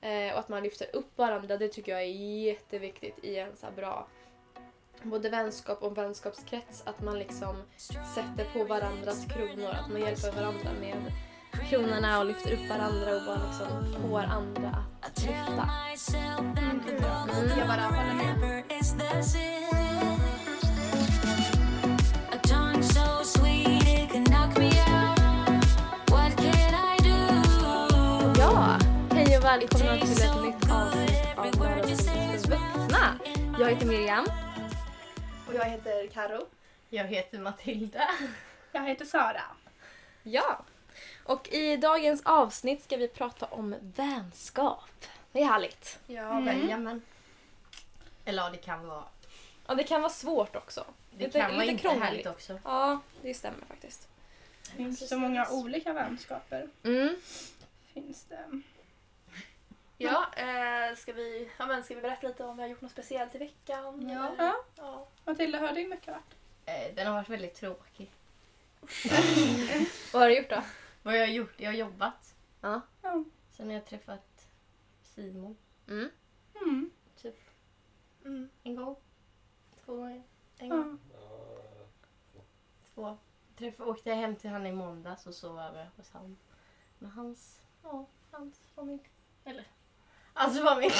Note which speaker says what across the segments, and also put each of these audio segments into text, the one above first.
Speaker 1: Eh, och att man lyfter upp varandra, det tycker jag är jätteviktigt i en så här bra både vänskap och vänskapskrets. Att man liksom sätter på varandras kronor, att man hjälper varandra med kronorna och lyfter upp varandra och bara liksom får andra att lyfta. Mm. Jag bara håller med. Ja! Hej och välkomna till ett nytt avsnitt av Världens vuxna. Jag heter Miriam.
Speaker 2: Och jag heter Karo.
Speaker 3: Jag heter Matilda.
Speaker 2: Jag heter Sara.
Speaker 1: Ja! Och i dagens avsnitt ska vi prata om vänskap. Det är härligt.
Speaker 2: Ja,
Speaker 3: Mm.
Speaker 2: men-
Speaker 3: Jajamän. Eller ja, det kan vara...
Speaker 1: Ja, det kan vara svårt också.
Speaker 3: Det kan vara inte härligt också.
Speaker 1: Ja, det stämmer faktiskt.
Speaker 4: Det finns så många olika vänskaper.
Speaker 1: Mm.
Speaker 4: Finns det.
Speaker 2: ja eh, ska, vi, ja, men ska vi berätta lite om vi har gjort något speciellt i veckan?
Speaker 3: Ja.
Speaker 2: eller?
Speaker 4: Ja.
Speaker 2: ja.
Speaker 4: Matilda, hur har din vecka varit?
Speaker 3: Eh, Den har varit väldigt tråkig.
Speaker 1: Vad har du gjort då?
Speaker 3: Vad jag har gjort? Jag har jobbat.
Speaker 1: Ja.
Speaker 4: Ja.
Speaker 3: Sen har jag träffat Simon
Speaker 1: Mm.
Speaker 4: Mm.
Speaker 2: Mm.
Speaker 3: en gång. Två gånger. En gång.
Speaker 4: Ja.
Speaker 3: Två. Träffa, åkte jag hem till han i måndags och sov över hos han. Med hans, ja, hans familj. Eller? Hans familj.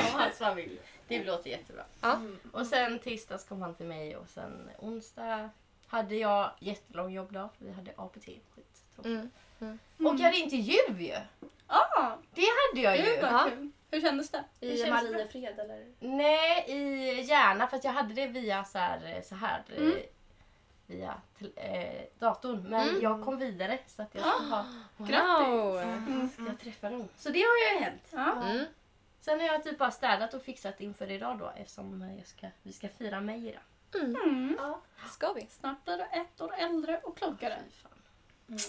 Speaker 3: ja, hans familj. Det låter jättebra.
Speaker 1: Ja.
Speaker 2: Mm.
Speaker 3: Och sen tisdags kom han till mig och sen onsdag hade jag jättelång jobbdag för vi hade APT. Skit.
Speaker 1: Mm.
Speaker 3: Och jag hade intervju ju!
Speaker 4: Ah,
Speaker 3: Det hade jag
Speaker 4: gud
Speaker 3: ju!
Speaker 1: Ja.
Speaker 4: vad kul. Hur kändes det?
Speaker 3: Det
Speaker 2: I
Speaker 3: känns
Speaker 2: Mariefred eller?
Speaker 3: Nej, i Järna för att jag hade det via så här, så här eh,
Speaker 4: Mm.
Speaker 3: via tel- eh, datorn. Men
Speaker 1: Mm.
Speaker 3: jag kom vidare så att jag ska, ha, Mm,
Speaker 1: Grattis!
Speaker 3: ska jag träffa dem. Ah. Så det har ju hänt.
Speaker 4: Ja.
Speaker 1: Mm.
Speaker 3: Sen har jag typ bara städat och fixat inför idag då eftersom eh, jag ska, vi ska fira mig idag.
Speaker 4: Mm.
Speaker 2: Ja.
Speaker 1: Ska vi?
Speaker 4: Snart är du ett år äldre och klokare.
Speaker 3: Fy fan.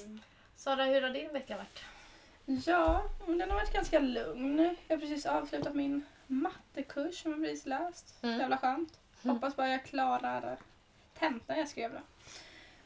Speaker 2: Mm.
Speaker 3: Sara, hur har din vecka varit?
Speaker 4: Ja, men den har varit ganska lugn. Jag har precis avslutat min mattekurs som jag precis läst.
Speaker 1: Mm.
Speaker 4: Jävla skönt. Hoppas bara jag klarar tentan jag skrev då.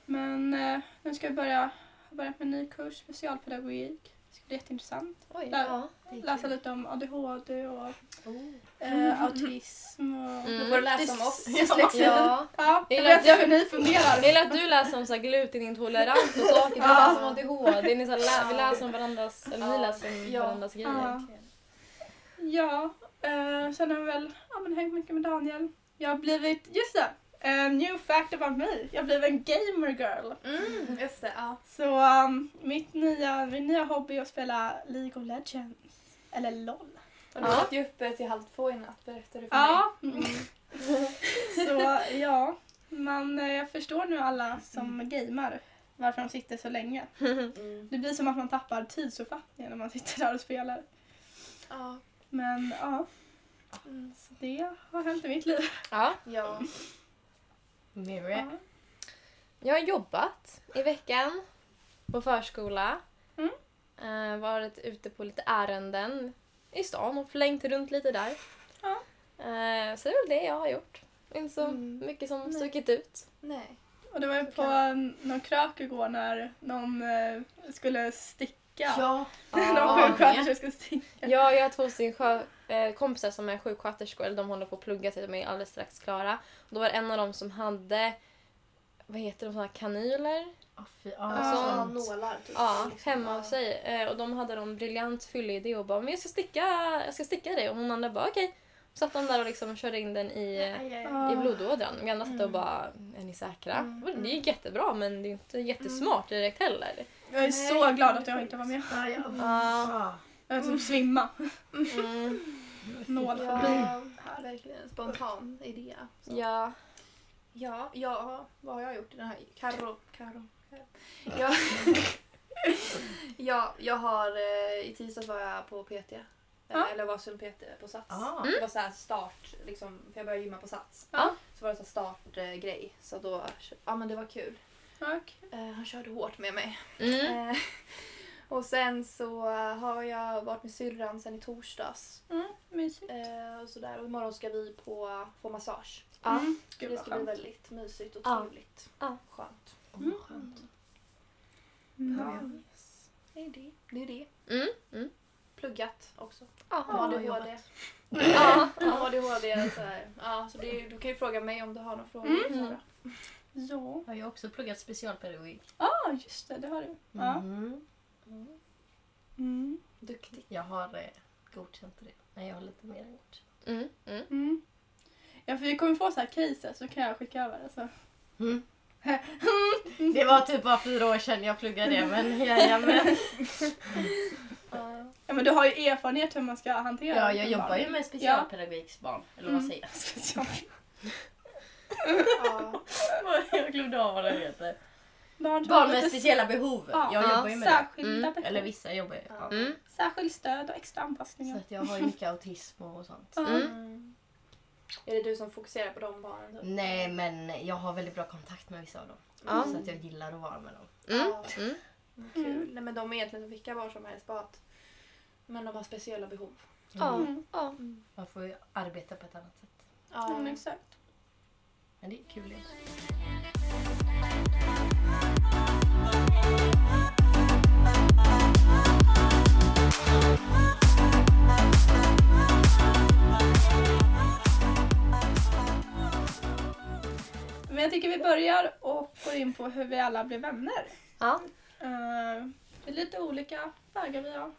Speaker 4: Men eh, nu ska jag börja, har börjat med en ny kurs, specialpedagogik. Det ska bli jätteintressant.
Speaker 1: Oj.
Speaker 4: Där.
Speaker 1: Ja.
Speaker 4: Läsa lite om ADHD och
Speaker 3: Oh.
Speaker 2: Mm.
Speaker 4: eh, autism och...
Speaker 1: Mm.
Speaker 2: Då får du läsa om oss.
Speaker 4: Dyslexi.
Speaker 1: Ja.
Speaker 4: Ja,
Speaker 1: Jag
Speaker 4: jag
Speaker 1: gillar
Speaker 4: vet
Speaker 1: att-
Speaker 4: ju hur ni fungerar.
Speaker 1: Jag gillar att du läser om så här glutenintolerans och saker. Vi läser om ADHD. Ni så här lä- vi läser om varandras, eller ni läser om
Speaker 2: Ja.
Speaker 1: varandras grejer.
Speaker 4: Ja. Ja, eh, sen har jag väl ja, men hängt mycket med Daniel. Jag har blivit, just det! eh, new fact about mig. Jag blev en gamer girl.
Speaker 2: Mm, just det, ja.
Speaker 4: Så um, mitt nya, min nya hobby är att spela League of Legends. Eller LOL.
Speaker 2: Och du
Speaker 1: Ja.
Speaker 2: satt ju uppe till halv två i natt berättade du för
Speaker 4: Ja.
Speaker 2: Mm.
Speaker 4: så ja, man, eh, jag förstår nu alla som gamer varför de sitter så länge.
Speaker 2: mig. Mm.
Speaker 4: Det blir som att man tappar tidsuppfattningen när man sitter där och spelar.
Speaker 2: Ja.
Speaker 4: Men ja,
Speaker 2: Mm.
Speaker 4: så det har hänt i mitt liv.
Speaker 1: Ja.
Speaker 2: ja.
Speaker 3: Mirre.
Speaker 1: Jag har jobbat i veckan på förskola.
Speaker 4: Mm.
Speaker 1: Eh, varit ute på lite ärenden i stan och flängt runt lite där.
Speaker 4: Ja.
Speaker 1: Eh, så det är väl det jag har gjort. Inte så
Speaker 2: Mm.
Speaker 1: mycket som
Speaker 4: Nej.
Speaker 1: stuckit ut.
Speaker 2: Nej.
Speaker 4: Och det var ju på någon krök igår när någon eh, skulle sticka.
Speaker 3: Ja.
Speaker 4: någon
Speaker 3: ja.
Speaker 4: sjuksköterska skulle sticka.
Speaker 1: Ja, jag har två stycken sjö, eh, kompisar som är sjuksköterskor, eller de håller på att plugga till de är alldeles strax klara. Och då var det en av dem som hade, vad heter de, såna här kanyler?
Speaker 3: Åh, fy, ja,
Speaker 4: Ja.
Speaker 2: Sådana
Speaker 3: sånt.
Speaker 2: nålar typ.
Speaker 1: Ja,
Speaker 2: Liksom,
Speaker 1: hemma
Speaker 2: ja.
Speaker 1: hos sig. Eh, och de hade någon briljant fyllig idé och bara, men jag ska sticka, jag ska sticka dig. Och hon andra bara, okej. Så satt de där och liksom körde in den i, eh,
Speaker 2: Aj, aj, aj.
Speaker 4: Ja.
Speaker 1: i blodådran. Vi andra satt och
Speaker 2: Mm.
Speaker 1: bara, är ni säkra?
Speaker 2: Mm,
Speaker 1: Och Det gick jättebra men det är inte jättesmart direkt heller.
Speaker 4: Jag är
Speaker 2: Nej,
Speaker 4: så glad
Speaker 2: det
Speaker 4: att jag
Speaker 2: är
Speaker 4: inte var med.
Speaker 3: Ja, ja.
Speaker 1: Ja.
Speaker 4: Jag typ svimma.
Speaker 1: Mm,
Speaker 4: Nålfobi.
Speaker 2: Ja, verkligen. Spontan idé. Så.
Speaker 1: ja.
Speaker 2: Ja, ja, vad har jag gjort i den här? Karo, Karo. Ja. ja, jag har eh, i tisdags var jag på PT. Eh,
Speaker 4: Ja.
Speaker 2: Eller var som PT på Sats.
Speaker 3: Ah.
Speaker 2: Det var så här start, liksom, för jag började gymma på Sats.
Speaker 1: Mm. Ja.
Speaker 2: Så var det så här startgrej. Så då, ja men det var kul.
Speaker 4: Tack.
Speaker 2: Eh, han körde hårt med mig.
Speaker 1: Mm.
Speaker 2: Eh, och sen så har jag varit med syrran sen i torsdags.
Speaker 4: Mm, mysigt.
Speaker 2: Eh, och sådär. Och imorgon ska vi på, få massage.
Speaker 1: Ja.
Speaker 4: Mm. Gud
Speaker 2: det
Speaker 4: vad
Speaker 2: ska bli
Speaker 4: skönt.
Speaker 2: väldigt mysigt och
Speaker 1: Ja.
Speaker 2: trevligt.
Speaker 1: Ja.
Speaker 2: Skönt.
Speaker 3: Åh, vad skönt.
Speaker 4: Mm.
Speaker 2: Det är det. Det är det.
Speaker 1: Mm. Mm.
Speaker 2: pluggat också.
Speaker 1: Ja,
Speaker 2: Ja,
Speaker 1: bra
Speaker 2: ADHD.
Speaker 1: jobbat.
Speaker 2: Ja, ADHD. Så här. Ja, så det, du kan ju fråga mig om du har några frågor.
Speaker 1: Mm.
Speaker 2: Sara.
Speaker 4: Ja,
Speaker 3: Jag har ju också pluggat specialpedagogik.
Speaker 4: ah, just det, det har du. Ja.
Speaker 3: Mm.
Speaker 4: Mm.
Speaker 1: Duktig.
Speaker 3: Jag har eh, godkänt det. Nej, jag har lite mer än godkänt.
Speaker 1: Mm, mm.
Speaker 4: Mm. Ja, för vi kommer få så här cases så kan jag skicka över. Alltså. Mm.
Speaker 3: Det var typ bara fyra år sedan jag pluggade det, men jajamän.
Speaker 2: Ja.
Speaker 4: Ja, men du har ju erfarenhet hur man ska hantera
Speaker 3: Ja, jag
Speaker 4: barn.
Speaker 3: jobbar ju med specialpedagogiksbarn, eller vad
Speaker 4: Mm.
Speaker 3: säger jag?
Speaker 4: Special.
Speaker 2: Ja.
Speaker 3: Jag glömde av vad det heter.
Speaker 4: Barn, som
Speaker 3: Barn
Speaker 4: har
Speaker 3: med
Speaker 4: lite
Speaker 3: speciella behov.
Speaker 4: Ja,
Speaker 3: Jag
Speaker 1: ja,
Speaker 3: jobbar ju med det. Mm,
Speaker 4: särskilda behov.
Speaker 3: Eller vissa jobbar ju. Ja.
Speaker 1: Mm.
Speaker 4: Särskilt stöd och extra
Speaker 3: Så
Speaker 4: anpassningar.
Speaker 3: att jag har ju mycket autism och sånt.
Speaker 4: Ja.
Speaker 1: Mm.
Speaker 2: Mm. Är det du som fokuserar på de barnen? typ?
Speaker 3: Nej, men jag har väldigt bra kontakt med vissa av dem.
Speaker 1: Ja.
Speaker 3: Så att jag gillar att vara med dem.
Speaker 1: Mm.
Speaker 2: Ja.
Speaker 1: Mm.
Speaker 2: Kul. Nej, men de är egentligen vilka barn som helst. Bara att, men de har speciella behov.
Speaker 1: Ja.
Speaker 4: Mm.
Speaker 1: ja.
Speaker 3: Man får ju arbeta på ett annat sätt.
Speaker 2: Ja.
Speaker 4: Mm, exakt.
Speaker 3: Men det är kul. ju.
Speaker 4: Men jag tycker vi börjar och går in på hur vi alla blev vänner.
Speaker 1: ja.
Speaker 4: Eh, det är lite olika vägar vi har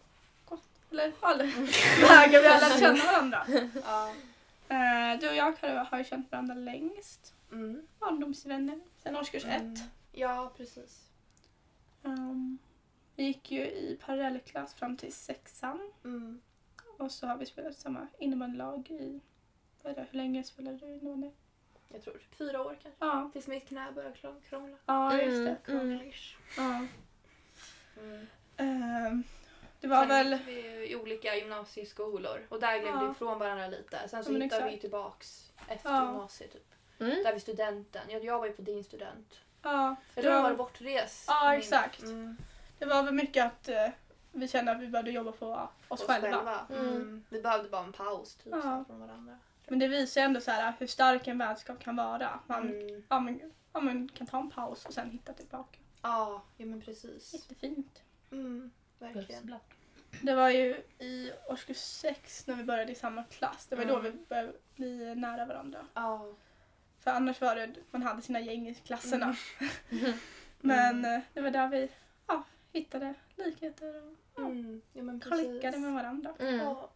Speaker 4: gått. Eller alla, vägar vi har lärt känna varandra.
Speaker 2: Mm. Ja.
Speaker 4: Eh, du och jag har, har ju känt varandra längst.
Speaker 2: Mm.
Speaker 4: Barndomsvänner sen årskurs
Speaker 2: Mm.
Speaker 4: ett.
Speaker 2: Ja, precis.
Speaker 4: Ehm, vi gick ju i parallellklass fram till sexan
Speaker 2: Mm.
Speaker 4: och så har vi spelat samma innebandylag i, vad är det, hur länge spelade du innebandy?
Speaker 2: Jag tror typ fyra år kanske.
Speaker 4: Ja,
Speaker 2: Tills mitt knä börjar krång- krångla.
Speaker 4: ja
Speaker 1: Mm.
Speaker 4: just det.
Speaker 2: Krånglish.
Speaker 4: Ja.
Speaker 2: Mm.
Speaker 4: Ehm, det var väl,
Speaker 2: Sen gick vi i olika gymnasieskolor och där gled
Speaker 4: Ja.
Speaker 2: vi ifrån varandra lite. Sen så
Speaker 4: Ja, men
Speaker 2: hittade
Speaker 4: exakt.
Speaker 2: vi ju tillbaks efter
Speaker 4: Ja.
Speaker 2: gymnasiet. Typ.
Speaker 1: Mm.
Speaker 2: Där vid studenten. Jag, jag var ju på din student.
Speaker 4: ja,
Speaker 2: Jag
Speaker 4: det
Speaker 2: tror jag
Speaker 4: var-
Speaker 2: var bortrest.
Speaker 4: Ja,
Speaker 2: Min-
Speaker 4: exakt.
Speaker 2: Mm.
Speaker 4: det var väl mycket att eh, vi kände att vi behövde jobba på oss,
Speaker 2: Oss
Speaker 4: själva.
Speaker 2: själva.
Speaker 1: Mm.
Speaker 2: Mm. Vi behövde bara en paus typ,
Speaker 4: Ja.
Speaker 2: så här, från varandra.
Speaker 4: Men det visar ju ändå så här, hur stark en vänskap kan vara. Man,
Speaker 2: Mm.
Speaker 4: ja, men, ja, man kan ta en paus och sen hitta tillbaka.
Speaker 2: Ja, ja, men precis.
Speaker 4: Jättefint.
Speaker 2: Mm, verkligen.
Speaker 3: Bubbla.
Speaker 4: Det var ju i årskurs sex när vi började i samma klass. Det var då vi
Speaker 2: Mm.
Speaker 4: började bli nära varandra.
Speaker 2: Ja.
Speaker 4: För annars var det man hade sina gäng i klasserna.
Speaker 2: Mm.
Speaker 4: Men eh, det var där vi ja, hittade likheter och
Speaker 2: Mm. Ja, men precis.
Speaker 4: klickade med varandra.
Speaker 1: Mm.
Speaker 2: Ja.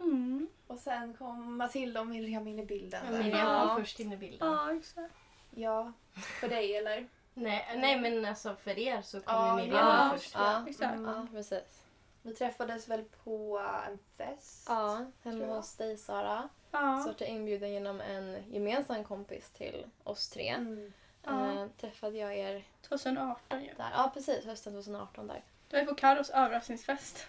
Speaker 4: Mm.
Speaker 2: Och sen kom Matilda och Miriam in i bilden. där.
Speaker 3: Miriam
Speaker 4: Ja.
Speaker 3: var först in i bilden.
Speaker 4: Ja, exakt.
Speaker 2: Ja, för dig eller?
Speaker 3: Nej, nej, men alltså för er så kom
Speaker 2: Ja,
Speaker 3: ju Miriam
Speaker 1: ja.
Speaker 3: var först.
Speaker 1: Ja.
Speaker 4: exakt.
Speaker 2: Mm.
Speaker 1: Ja, precis.
Speaker 2: Vi träffades väl på en fest?
Speaker 1: Ja, hemma
Speaker 2: Tror jag.
Speaker 1: hos dig Sara. Så
Speaker 4: Ja.
Speaker 1: vart jag inbjuden genom en gemensam kompis till oss tre.
Speaker 2: Mm.
Speaker 4: Ja.
Speaker 1: Eh, träffade jag er
Speaker 4: 2018 ju.
Speaker 1: där. Ja, precis. Hösten 2018 där.
Speaker 4: Det var på Carros överraskningsfest.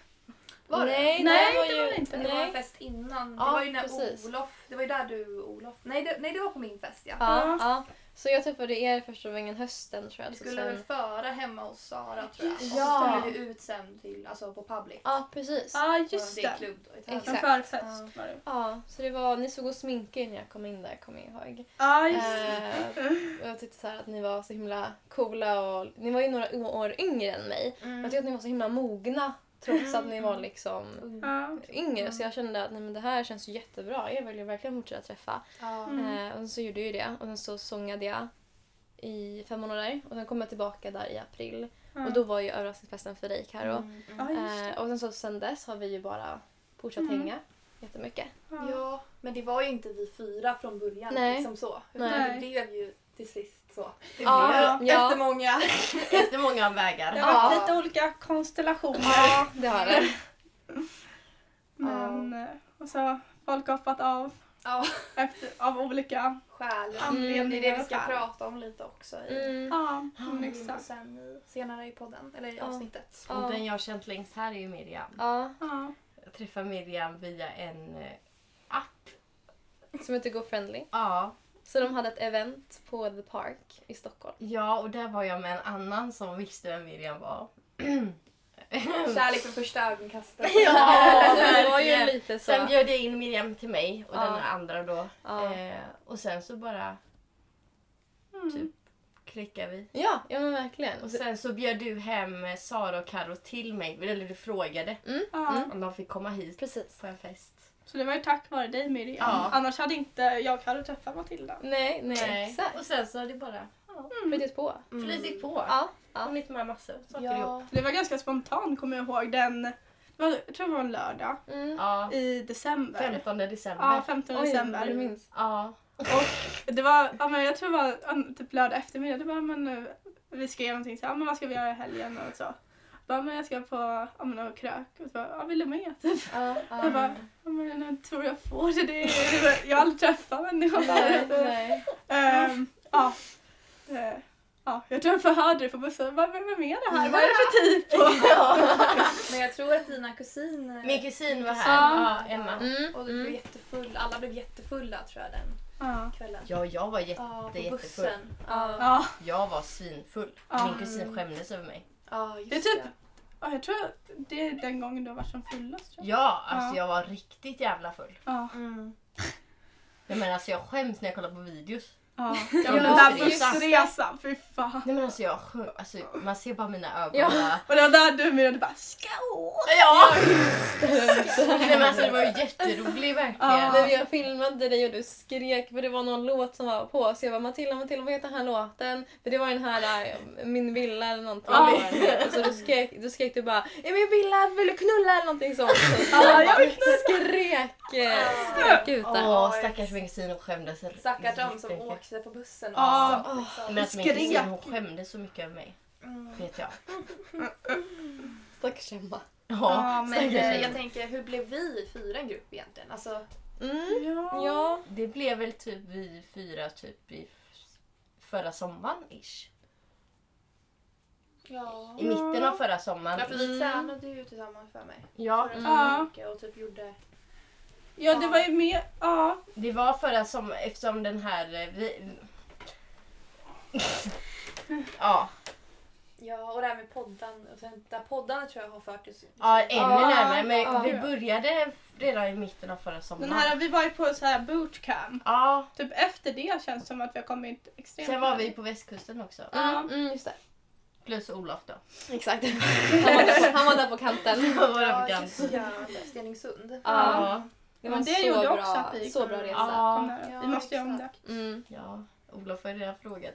Speaker 2: Var det?
Speaker 1: nej,
Speaker 4: Nej,
Speaker 1: det var
Speaker 4: det
Speaker 1: ju...
Speaker 4: var det inte.
Speaker 2: Det var en
Speaker 1: Nej.
Speaker 2: fest innan.
Speaker 1: Ja,
Speaker 2: det var ju när
Speaker 1: precis.
Speaker 2: Olof... Det var ju där du Olof... Nej det, nej, det var på min fest ja.
Speaker 1: Ja, ja. Så jag träffade er första gången hösten tror jag.
Speaker 2: Vi
Speaker 1: Så
Speaker 2: skulle
Speaker 1: sen-
Speaker 2: väl föra hemma hos Sara tror jag. Och
Speaker 1: Ja.
Speaker 2: så skulle vi ut sen till, alltså på public.
Speaker 1: Ja, precis. Ja.
Speaker 4: Ja,
Speaker 2: På en
Speaker 4: just det.
Speaker 2: klubb då, i Täby.
Speaker 1: Exakt.
Speaker 4: En förfest var det.
Speaker 1: så det var, ni såg och sminkade er när jag kom in där, kommer jag ihåg.
Speaker 4: Ja, just det.
Speaker 1: Eh, och jag tyckte så här att ni var så himla coola och ni var ju några år yngre än mig.
Speaker 2: Mm.
Speaker 1: Jag tyckte att ni var så himla mogna trots att ni var liksom
Speaker 2: Mm.
Speaker 4: Ja.
Speaker 1: yngre så jag kände att nej, men det här känns ju jättebra. Jag vill ju verkligen fortsätta träffa.
Speaker 2: Ja.
Speaker 4: Mm.
Speaker 1: Eh, och så gjorde jag ju det och sen så sångade jag i fem månader och sen kom jag tillbaka där i april
Speaker 4: Ja.
Speaker 1: och då var ju överraskningsfesten för dig Karo.
Speaker 2: Mm.
Speaker 4: Ja, just det.
Speaker 1: Eh, och sen så sen dess har vi ju bara fortsatt
Speaker 4: Mm.
Speaker 1: hänga jättemycket.
Speaker 4: Ja.
Speaker 2: Ja, men det var ju inte vi fyra från början.
Speaker 1: Nej.
Speaker 2: Liksom så. Utan
Speaker 1: Nej.
Speaker 2: Det blev ju till sist så. Det
Speaker 1: Ja,
Speaker 2: blev
Speaker 1: ja.
Speaker 2: efter många.
Speaker 3: Efter många
Speaker 4: Det
Speaker 3: vägar.
Speaker 4: har varit
Speaker 2: Ja.
Speaker 4: lite olika konstellationer.
Speaker 1: Ja, det har det.
Speaker 4: Men, eh, och så folk har hoppat av
Speaker 2: Ja,
Speaker 4: efter, av olika
Speaker 2: skäl.
Speaker 4: anledningar.
Speaker 2: Det är det vi ska
Speaker 4: och skäl.
Speaker 2: prata om lite också. I.
Speaker 1: Mm.
Speaker 4: Ja, men
Speaker 2: Mm, och
Speaker 4: exakt.
Speaker 2: sen i, senare i podden, eller i
Speaker 1: Ja.
Speaker 2: avsnittet.
Speaker 1: Ja.
Speaker 3: Och den jag har känt längst här är ju Miriam.
Speaker 1: Ja,
Speaker 4: Ja.
Speaker 3: Jag träffar Miriam via en eh, app.
Speaker 1: som heter Go Friendly.
Speaker 3: Ja.
Speaker 1: Så de hade ett event på The Park i Stockholm.
Speaker 3: ja, och där var jag med en annan som visste vem Miriam var.
Speaker 2: Kärlek för första ögonkastet.
Speaker 3: Ja,
Speaker 1: det var ju
Speaker 3: verkligen.
Speaker 1: lite så.
Speaker 3: Sen bjöd jag in Miriam till mig och
Speaker 1: Ja.
Speaker 3: den andra då.
Speaker 1: Ja.
Speaker 3: Eh, och sen så bara
Speaker 4: Mm.
Speaker 3: Typ. klickade vi.
Speaker 1: Ja, ja men verkligen.
Speaker 3: Och sen så bjöd du hem eh, Sara och Karo till mig. Eller du frågade
Speaker 4: Ja.
Speaker 1: Mm.
Speaker 3: om de fick komma hit
Speaker 1: Precis.
Speaker 3: på en fest.
Speaker 4: Så det var ju tack vare dig Miriam.
Speaker 3: Ja.
Speaker 4: Annars hade inte jag Karo träffat Matilda.
Speaker 1: Nej, nej. Exakt.
Speaker 3: Och sen så har det bara
Speaker 1: Flyttat på.
Speaker 4: Mm.
Speaker 3: flutit på.
Speaker 1: Ja.
Speaker 3: Hon hittade med massor saker ihop.
Speaker 4: För det var ganska spontant kommer jag ihåg. Den, det var, jag tror det var en lördag
Speaker 1: Mm.
Speaker 3: Ja.
Speaker 4: i december.
Speaker 3: 15 december.
Speaker 4: Ja, 15
Speaker 1: Oj,
Speaker 4: december.
Speaker 1: du minns.
Speaker 3: Ja.
Speaker 4: Det var, ja, men jag tror det var ja, typ lördag eftermiddag. Det var, men, eh, vi skrev någonting så här, men vad ska vi göra i helgen och så. Bara, men jag ska på ja, men, och krök och så bara, ja, vill du med? Typ.
Speaker 1: Ja, ja.
Speaker 4: Jag bara, ja, men, jag tror jag får det. det är, jag har aldrig träffat människor.
Speaker 1: Nej, nej.
Speaker 4: Ehm, ja. Eh, Ja, jag tror jag förhörde dig på bussen. Vad vem är med det här? Vad är det för typ?
Speaker 2: Men jag tror att dina kusiner...
Speaker 3: Min kusin var här.
Speaker 4: Ja.
Speaker 3: Ja, Emma.
Speaker 1: Mm.
Speaker 2: Och du blev
Speaker 1: Mm.
Speaker 2: jättefull. Alla blev jättefulla tror jag den
Speaker 4: Ja.
Speaker 2: kvällen.
Speaker 3: Ja, jag var jätte...
Speaker 2: Ja, på
Speaker 3: jättefull.
Speaker 2: bussen. Ja,
Speaker 4: ja.
Speaker 3: Jag var svinfull.
Speaker 4: Ja.
Speaker 3: Min kusin skämdes över mig.
Speaker 2: ja
Speaker 4: Det är
Speaker 2: just
Speaker 4: typ,
Speaker 2: det.
Speaker 4: ja, jag tror att det är den gången du har varit som fullast. Tror jag.
Speaker 3: Ja, alltså
Speaker 4: Ja.
Speaker 3: jag var riktigt jävla full.
Speaker 4: Ja.
Speaker 3: Nej men alltså jag skäms när jag kollar på videos.
Speaker 4: Ja.
Speaker 3: Ja,
Speaker 4: Den där bussresan, fy fan.
Speaker 3: Nej men alltså jag sjö- alltså, man ser bara mina ögon
Speaker 1: Ja.
Speaker 3: bara.
Speaker 4: Och det var där du Miriam du bara skål!
Speaker 3: Ja! Nej men alltså det var ju jätteroligt
Speaker 4: Ja.
Speaker 3: verkligen.
Speaker 1: När jag filmade dig och du skrek för det var någon låt som var på så jag bara Matilda, Matilda vad heter den här låten? För det var den här äh, Min villa eller någonting.
Speaker 3: Ja.
Speaker 1: Och Så du skrek, du skrek du bara Är min villa, vill du knulla eller någonting sånt. Så
Speaker 4: Ja, jag
Speaker 1: jag skrek, eh, skrek ut det.
Speaker 3: Åh stackars min kusin hon skämdes.
Speaker 2: Stackars de
Speaker 3: riktigt
Speaker 2: som
Speaker 3: mycket.
Speaker 2: åkte på bussen och
Speaker 4: Ja.
Speaker 2: satt liksom.
Speaker 3: Men alltså min
Speaker 4: Skrek.
Speaker 3: kusin hon skämdes så mycket över mig.
Speaker 2: Mm.
Speaker 3: Vet jag.
Speaker 1: Stackars Emma.
Speaker 3: Ja,
Speaker 4: men,
Speaker 2: Men
Speaker 3: stackars
Speaker 2: eh,
Speaker 3: henne.
Speaker 2: jag tänker, hur blev vi fyra en grupp egentligen? Alltså,
Speaker 1: Mm.
Speaker 4: Ja.
Speaker 1: Ja.
Speaker 3: Det blev väl typ vi fyra typ i f- förra sommaren ish.
Speaker 2: ja.
Speaker 3: I
Speaker 2: Mm.
Speaker 3: mitten av förra sommaren.
Speaker 2: för vi
Speaker 1: Mm.
Speaker 2: tränade ju tillsammans för mig.
Speaker 3: Ja, Mm.
Speaker 2: Förra
Speaker 4: Ja.
Speaker 2: veckan och typ gjorde...
Speaker 4: ja, det var ju med, ja.
Speaker 3: det var förra sommaren eftersom den här... eh, Vi... ja,
Speaker 2: Ja, och det här med poddan. Och sen, där poddarna tror jag har fört oss.
Speaker 3: ja, ännu
Speaker 1: Ja,
Speaker 3: närmare. Men
Speaker 1: ja.
Speaker 3: vi började redan i mitten av förra sommaren.
Speaker 4: Den här, vi var ju på så här bootcamp.
Speaker 3: Ja,
Speaker 4: Typ efter det känns det som att vi har kommit extremt
Speaker 3: sen var vi på västkusten också.
Speaker 4: Ja.
Speaker 1: Mm, just det.
Speaker 3: Plus Olof då.
Speaker 1: Exakt. Han var där på, han var där på kanten.
Speaker 3: Han var där på
Speaker 2: Ja,
Speaker 3: kanten.
Speaker 2: just det. Steningsund.
Speaker 1: Ja.
Speaker 3: Ja,
Speaker 1: Det var
Speaker 4: Men
Speaker 1: en
Speaker 4: det
Speaker 1: så
Speaker 4: gjorde
Speaker 1: bra,
Speaker 4: också att vi
Speaker 1: så
Speaker 4: kom-
Speaker 1: bra resa.
Speaker 4: kom
Speaker 3: ja,
Speaker 4: nära.
Speaker 2: Ja,
Speaker 4: vi måste göra om det.
Speaker 2: exakt.
Speaker 1: Mm.
Speaker 3: ja. Olof har redan frågat.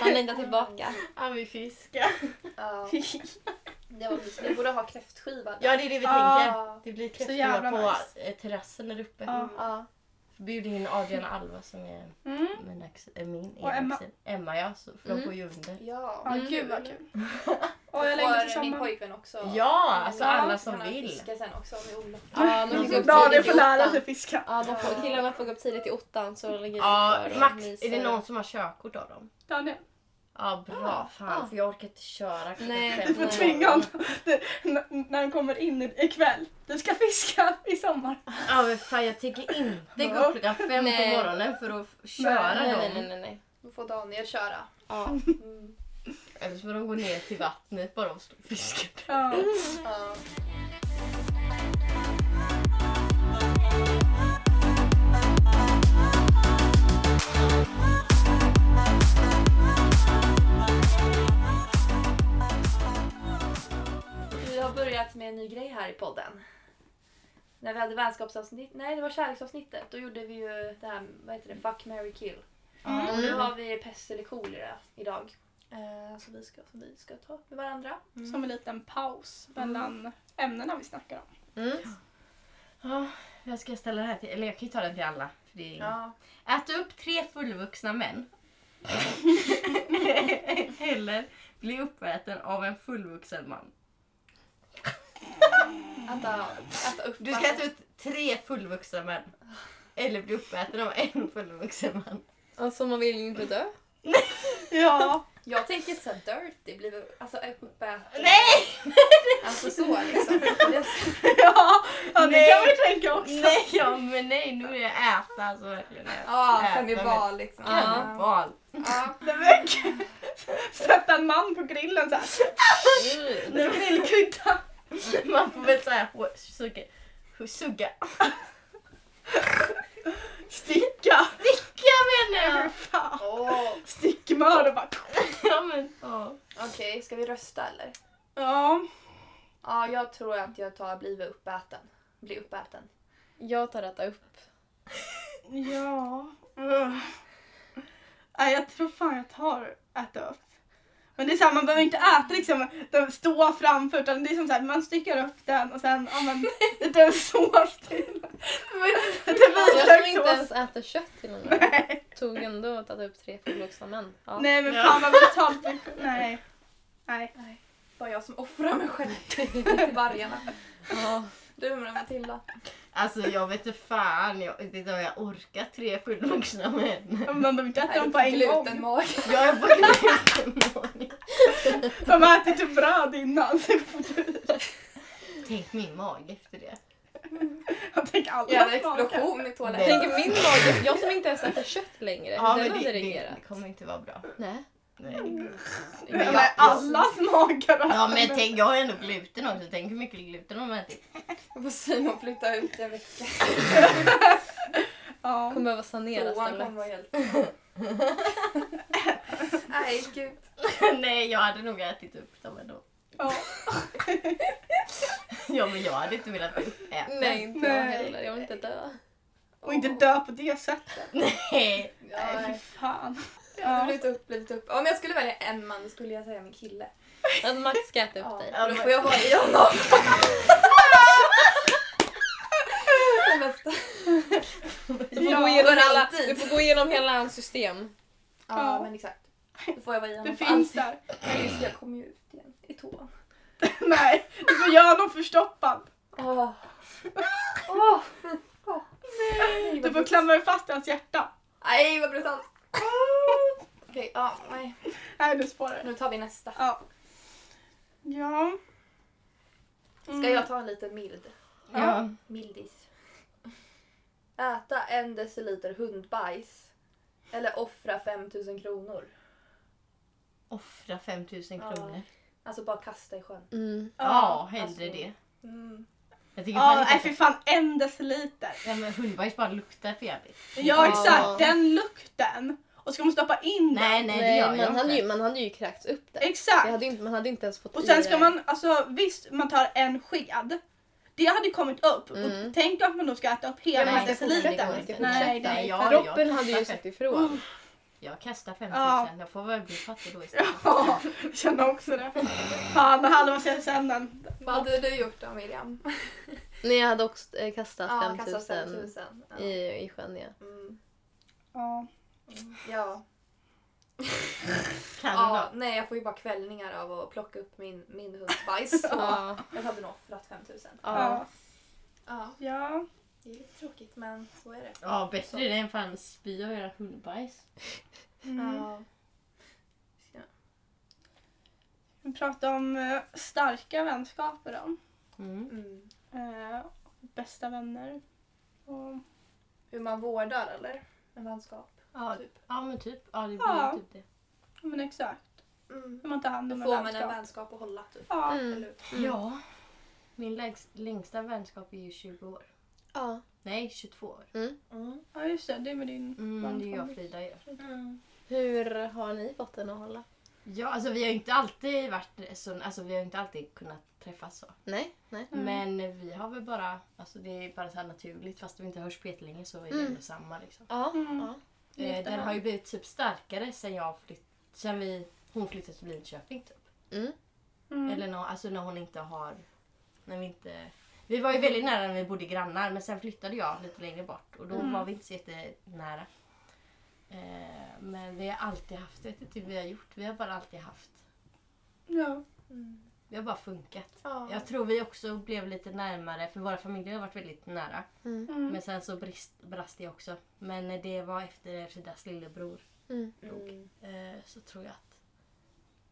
Speaker 1: Han längtar tillbaka.
Speaker 3: Han vill fiska.
Speaker 2: Ja. Det var mysigt. Vi borde ha kräftskiva.
Speaker 3: Ja, det är det vi
Speaker 4: Ja.
Speaker 3: tänker.
Speaker 2: Ja.
Speaker 3: Det blir kräftskiva
Speaker 4: jävla
Speaker 3: på
Speaker 4: nice.
Speaker 3: eh, terrassen där uppe.
Speaker 4: Ja.
Speaker 1: Ja.
Speaker 3: Bjud in Adrian och Alva som är
Speaker 4: Mm.
Speaker 3: min, axel, äh, min
Speaker 4: Och
Speaker 3: ena
Speaker 4: Emma.
Speaker 3: axel. Emma ja, så, för de
Speaker 1: Mm.
Speaker 3: bor ju under.
Speaker 2: Ja.
Speaker 4: Ja,
Speaker 1: Mm.
Speaker 4: gud vad kul.
Speaker 2: Och
Speaker 4: Och jag längtar till
Speaker 2: min
Speaker 4: sommaren.
Speaker 2: pojkvän också.
Speaker 3: Ja, alltså
Speaker 2: Ja,
Speaker 3: alla som
Speaker 2: han har
Speaker 3: vill.
Speaker 2: fiskat sen också med Olof.
Speaker 1: Ja, de
Speaker 4: Det är
Speaker 1: fick
Speaker 4: så
Speaker 1: upp
Speaker 4: bra
Speaker 1: tidigt
Speaker 4: att
Speaker 1: i
Speaker 4: får lära sig
Speaker 1: åttan.
Speaker 4: fiska.
Speaker 1: Ja, de får, killarna får gå upp tidigt i åttan så ligger vi
Speaker 3: Ja,
Speaker 1: kvar och
Speaker 3: Max,
Speaker 1: myser.
Speaker 3: är det någon som har körkort av dem?
Speaker 4: Daniel,
Speaker 3: Ja, bra. Fan,
Speaker 1: Ja.
Speaker 3: för jag orkar inte köra klockan
Speaker 1: Nej,
Speaker 3: fem
Speaker 1: du
Speaker 3: på
Speaker 4: du får
Speaker 1: Nej.
Speaker 4: tvinga
Speaker 3: morgonen.
Speaker 4: honom Det- n- när han kommer in i- ikväll. Du ska fiska i sommar.
Speaker 3: Ja, men fan jag tänker inte gå upp klockan fem
Speaker 1: Nej.
Speaker 3: på morgonen för att f- köra
Speaker 1: Nej, nej,
Speaker 3: dem.
Speaker 1: nej, nej, nej.
Speaker 2: Då får Daniel köra.
Speaker 1: Ja.
Speaker 2: Mm.
Speaker 3: Eller så får de gå ner till vattnet bara och stå och fiska.
Speaker 4: Ja.
Speaker 2: Ja. Vi har börjat med en ny grej här i podden. När vi hade vänskapsavsnitt, nej det var kärleksavsnittet, då gjorde vi ju det här, vad heter det, fuck, marry, kill.
Speaker 4: Mm.
Speaker 2: Och nu har vi pest eller kolera idag. Mm. Eh, så vi ska, som vi ska ta med varandra.
Speaker 4: Som en liten paus mellan ämnena vi snackar om.
Speaker 1: Mm.
Speaker 3: Ja, jag ska ställa den här till, eller jag kan ju ta den till alla. För det är...
Speaker 2: Ja.
Speaker 3: Äta upp tre fullvuxna män. eller bli uppäten av en fullvuxen man.
Speaker 2: Äta, äta upp.
Speaker 3: Du ska äta upp tre fullvuxna män. Eller bli uppäten av en fullvuxen man.
Speaker 1: Alltså man vill ju inte dö.
Speaker 4: Ja,
Speaker 2: Jag tänker så här dirty, blir alltså uppäten.
Speaker 3: Nej!
Speaker 2: Alltså så liksom.
Speaker 4: ja, ja det
Speaker 3: Nej.
Speaker 4: kan vi tänka också.
Speaker 3: Nej, ja, men nej nu vill jag äta alltså verkligen. äta.
Speaker 2: Ja,
Speaker 3: Äta
Speaker 2: kannibal liksom.
Speaker 1: Ja.
Speaker 3: Val.
Speaker 2: Ja.
Speaker 4: Det verkar- Sätta en man på grillen så här.
Speaker 2: Mm.
Speaker 4: Grillkudda.
Speaker 3: Man får väl såhär hå- sugga. Sugga.
Speaker 4: Sticka.
Speaker 3: sticka menar
Speaker 4: Fy
Speaker 3: jag!
Speaker 4: fan.
Speaker 2: Åh,
Speaker 4: Stickmör och bara...
Speaker 3: Ja men, ja.
Speaker 2: Okej, ska vi rösta eller?
Speaker 4: Ja.
Speaker 2: Ja, jag tror att jag tar bli uppäten. Bli uppäten.
Speaker 1: Jag tar detta upp.
Speaker 4: Ja. Ugh. Nej, jag tror fan jag tar äta upp. Men det är så här, man behöver inte äta liksom, den stå framför utan det är som så här, man styckar upp den och sen ja, men, lite sås till. Det
Speaker 1: Jag som inte
Speaker 4: blir
Speaker 1: ens äter kött till och med.
Speaker 4: Nej.
Speaker 1: Tog ändå att äta upp tre fullvuxna män. Ja.
Speaker 4: Nej men fan vad brutalt. Nej. Nej.
Speaker 2: Bara jag som offrar mig själv till vargarna.
Speaker 1: Ja.
Speaker 2: Du med Matilda.
Speaker 3: Alltså jag vet inte fan, jag vet inte om jag orkar tre fullvuxna män.
Speaker 4: Man behöver inte äta dem på en gång.
Speaker 2: Glutenmage.
Speaker 3: Jag är på glutenmagen.
Speaker 4: De äter typ bröd innan.
Speaker 3: Tänk min mage efter det.
Speaker 4: Jag tänker alla
Speaker 2: Jävla
Speaker 4: smakar.
Speaker 2: explosion i
Speaker 3: Nej.
Speaker 2: toaletten.
Speaker 1: Tänk min mage, jag som inte ens äter kött längre. hur den hade
Speaker 3: det, det,
Speaker 1: reagerat.
Speaker 3: det kommer inte vara bra.
Speaker 1: Nej.
Speaker 3: Nej.
Speaker 4: Men
Speaker 3: Men
Speaker 4: jag-
Speaker 3: jag,
Speaker 4: alla smaker.
Speaker 3: ja men tänk, jag har ju ändå gluten också, tänk hur mycket gluten de äter.
Speaker 2: Jag får Simon flytta ut en vecka.
Speaker 4: Ja.
Speaker 1: Kommer behöva sanera
Speaker 2: Toan kommer vara
Speaker 1: stället.
Speaker 2: helt... Nej, gud.
Speaker 3: Nej, jag hade nog ätit upp dem ändå.
Speaker 4: Ja.
Speaker 3: Ja, men jag hade inte velat äta.
Speaker 1: Nej, inte jag
Speaker 4: Nej.
Speaker 1: heller. Jag vill inte dö.
Speaker 4: Och inte dö på det sättet.
Speaker 3: Nej.
Speaker 4: Nej, fy
Speaker 2: Ja,
Speaker 4: fan.
Speaker 2: jag hade blivit upp, blivit upp. Om jag skulle välja en man då skulle jag säga min kille.
Speaker 1: Att Max ska äta upp
Speaker 2: Ja,
Speaker 1: dig.
Speaker 3: Ja,
Speaker 2: då
Speaker 3: men-
Speaker 2: får jag vara i honom. Det bästa.
Speaker 1: Du får,
Speaker 4: Ja,
Speaker 1: gå igenom
Speaker 2: för
Speaker 1: hela,
Speaker 2: alltid.
Speaker 1: du får gå igenom hela hans system.
Speaker 2: Ja, men exakt. Då får jag vara i
Speaker 4: Det
Speaker 2: honom för
Speaker 4: finns
Speaker 2: alltid.
Speaker 4: där.
Speaker 2: Men just det, jag kommer ju ut igen i toan.
Speaker 4: Nej, du får göra någon förstoppad.
Speaker 2: Åh! Åh! Nej!
Speaker 4: Du får klamra dig fast i hans hjärta.
Speaker 2: Nej, vad brutalt! Okej, ja, nej.
Speaker 4: Nej, nu spårar det.
Speaker 2: Nu tar vi nästa.
Speaker 4: Ja. Ja. Mm.
Speaker 2: Ska jag ta en liten mild?
Speaker 3: Ja.
Speaker 2: Mildis. Äta en deciliter hundbajs. Eller offra 5000 kronor.
Speaker 3: Offra 5000 kronor.
Speaker 2: Alltså bara kasta i sjön.
Speaker 1: Mm.
Speaker 3: Ja, hellre
Speaker 2: alltså.
Speaker 3: det.
Speaker 2: Mm.
Speaker 3: Jag tycker
Speaker 4: Ja,
Speaker 3: fan
Speaker 4: nej
Speaker 3: inte
Speaker 4: fy
Speaker 3: att...
Speaker 4: fan en deciliter.
Speaker 3: Nej, men hundbajs bara luktar för jävligt.
Speaker 4: Ja exakt, den lukten. Och ska man stoppa in den.
Speaker 3: Nej, nej, det
Speaker 1: Nej,
Speaker 3: gör jag
Speaker 1: man hade,
Speaker 3: inte.
Speaker 1: ju, man hade ju kräkts upp där. Jag
Speaker 4: Exakt.
Speaker 1: hade ju inte, man hade inte ens fått
Speaker 4: Och
Speaker 1: i
Speaker 4: sen
Speaker 1: det.
Speaker 4: ska man, alltså visst man tar en sked. Det hade ju kommit upp.
Speaker 1: Mm.
Speaker 4: Och tänk att man då ska äta upp
Speaker 1: Ja, men
Speaker 4: hela den här
Speaker 1: eh, det fortsätter,
Speaker 4: decilitern.
Speaker 1: det fortsätter.
Speaker 4: Nej, nej.
Speaker 3: Nej, jag-
Speaker 4: för-
Speaker 1: Kroppen
Speaker 3: jag-
Speaker 1: hade ju sagt ifrån.
Speaker 3: Jag kastar 5000,
Speaker 4: Ja.
Speaker 3: jag får väl bli fattig då istället.
Speaker 4: Ja, jag känner också det. Fan, halva CSN-en.
Speaker 2: Vad hade du gjort då Miriam?
Speaker 1: Nej, jag hade också eh, kastat
Speaker 2: Ja, kasta
Speaker 1: 5000
Speaker 2: 5000. Ja.
Speaker 1: i, i sjön. Ja.
Speaker 2: Mm.
Speaker 4: Ja.
Speaker 2: Ja.
Speaker 3: Kan du
Speaker 2: ja,
Speaker 3: då?
Speaker 2: nej jag får ju bara kvällningar av att plocka upp min, min hundbajs. Så
Speaker 1: Ja.
Speaker 2: jag hade nog offrat 5000.
Speaker 1: Ja.
Speaker 2: Ja,
Speaker 4: Ja.
Speaker 2: det är lite tråkigt men så är det.
Speaker 3: Ja, bättre det än fan spy och göra hundbajs.
Speaker 4: Mm.
Speaker 2: Ja. Ja.
Speaker 4: Vi pratar om eh, starka vänskaper då.
Speaker 3: Mm.
Speaker 2: Mm.
Speaker 4: Eh, bästa vänner. Och,
Speaker 2: Hur man vårdar eller? En vänskap.
Speaker 3: Ja,
Speaker 2: Typ.
Speaker 3: ja, men typ. Ja, det blir
Speaker 4: Ja.
Speaker 3: typ det.
Speaker 4: ja, men exakt.
Speaker 2: Mm.
Speaker 4: Hur man tar hand
Speaker 2: Då
Speaker 4: om
Speaker 2: får man en vänskap att hålla typ.
Speaker 4: Ja.
Speaker 1: Mm.
Speaker 2: Eller-
Speaker 1: Mm.
Speaker 3: Ja. Min lägst, längsta vänskap är ju 20 år.
Speaker 1: Ja.
Speaker 3: Nej, 22 år.
Speaker 2: Mm.
Speaker 4: ja, just det. Det är med din
Speaker 3: Mm, det är jag
Speaker 4: vänskap.
Speaker 3: och Frida gör.
Speaker 1: Hur har ni fått den att hålla?
Speaker 3: Ja, alltså vi har ju inte alltid varit så, alltså vi har ju inte alltid kunnat träffas så.
Speaker 1: Nej. Nej.
Speaker 3: Men vi har väl bara, alltså det är bara så här naturligt fast vi inte hörs på länge så är det
Speaker 1: Mm.
Speaker 3: ändå samma liksom.
Speaker 1: Ja.
Speaker 4: Mm.
Speaker 1: ja.
Speaker 4: I
Speaker 3: Eh, den
Speaker 4: efterhand.
Speaker 3: har ju blivit typ starkare sen jag flytt, sen vi, hon flyttade till Linköping typ.
Speaker 1: Mm.
Speaker 4: Mm.
Speaker 3: Eller nå, alltså när hon inte har, när vi inte vi var ju väldigt nära när vi bodde grannar men sen flyttade jag lite längre bort och då
Speaker 4: Mm.
Speaker 3: var vi inte så jättenära. Eh, men vi har alltid haft, jag vet inte hur vi har gjort, vi har bara alltid haft.
Speaker 4: Ja.
Speaker 2: Mm.
Speaker 3: Vi har bara funkat.
Speaker 2: Ja.
Speaker 3: Jag tror vi också blev lite närmare, för våra familjer har varit väldigt nära.
Speaker 4: Mm.
Speaker 3: Men sen så brist, brast det också. Men eh, det var efter Fridas lillebror
Speaker 1: Mm.
Speaker 2: Mm.
Speaker 3: eh, så tror jag att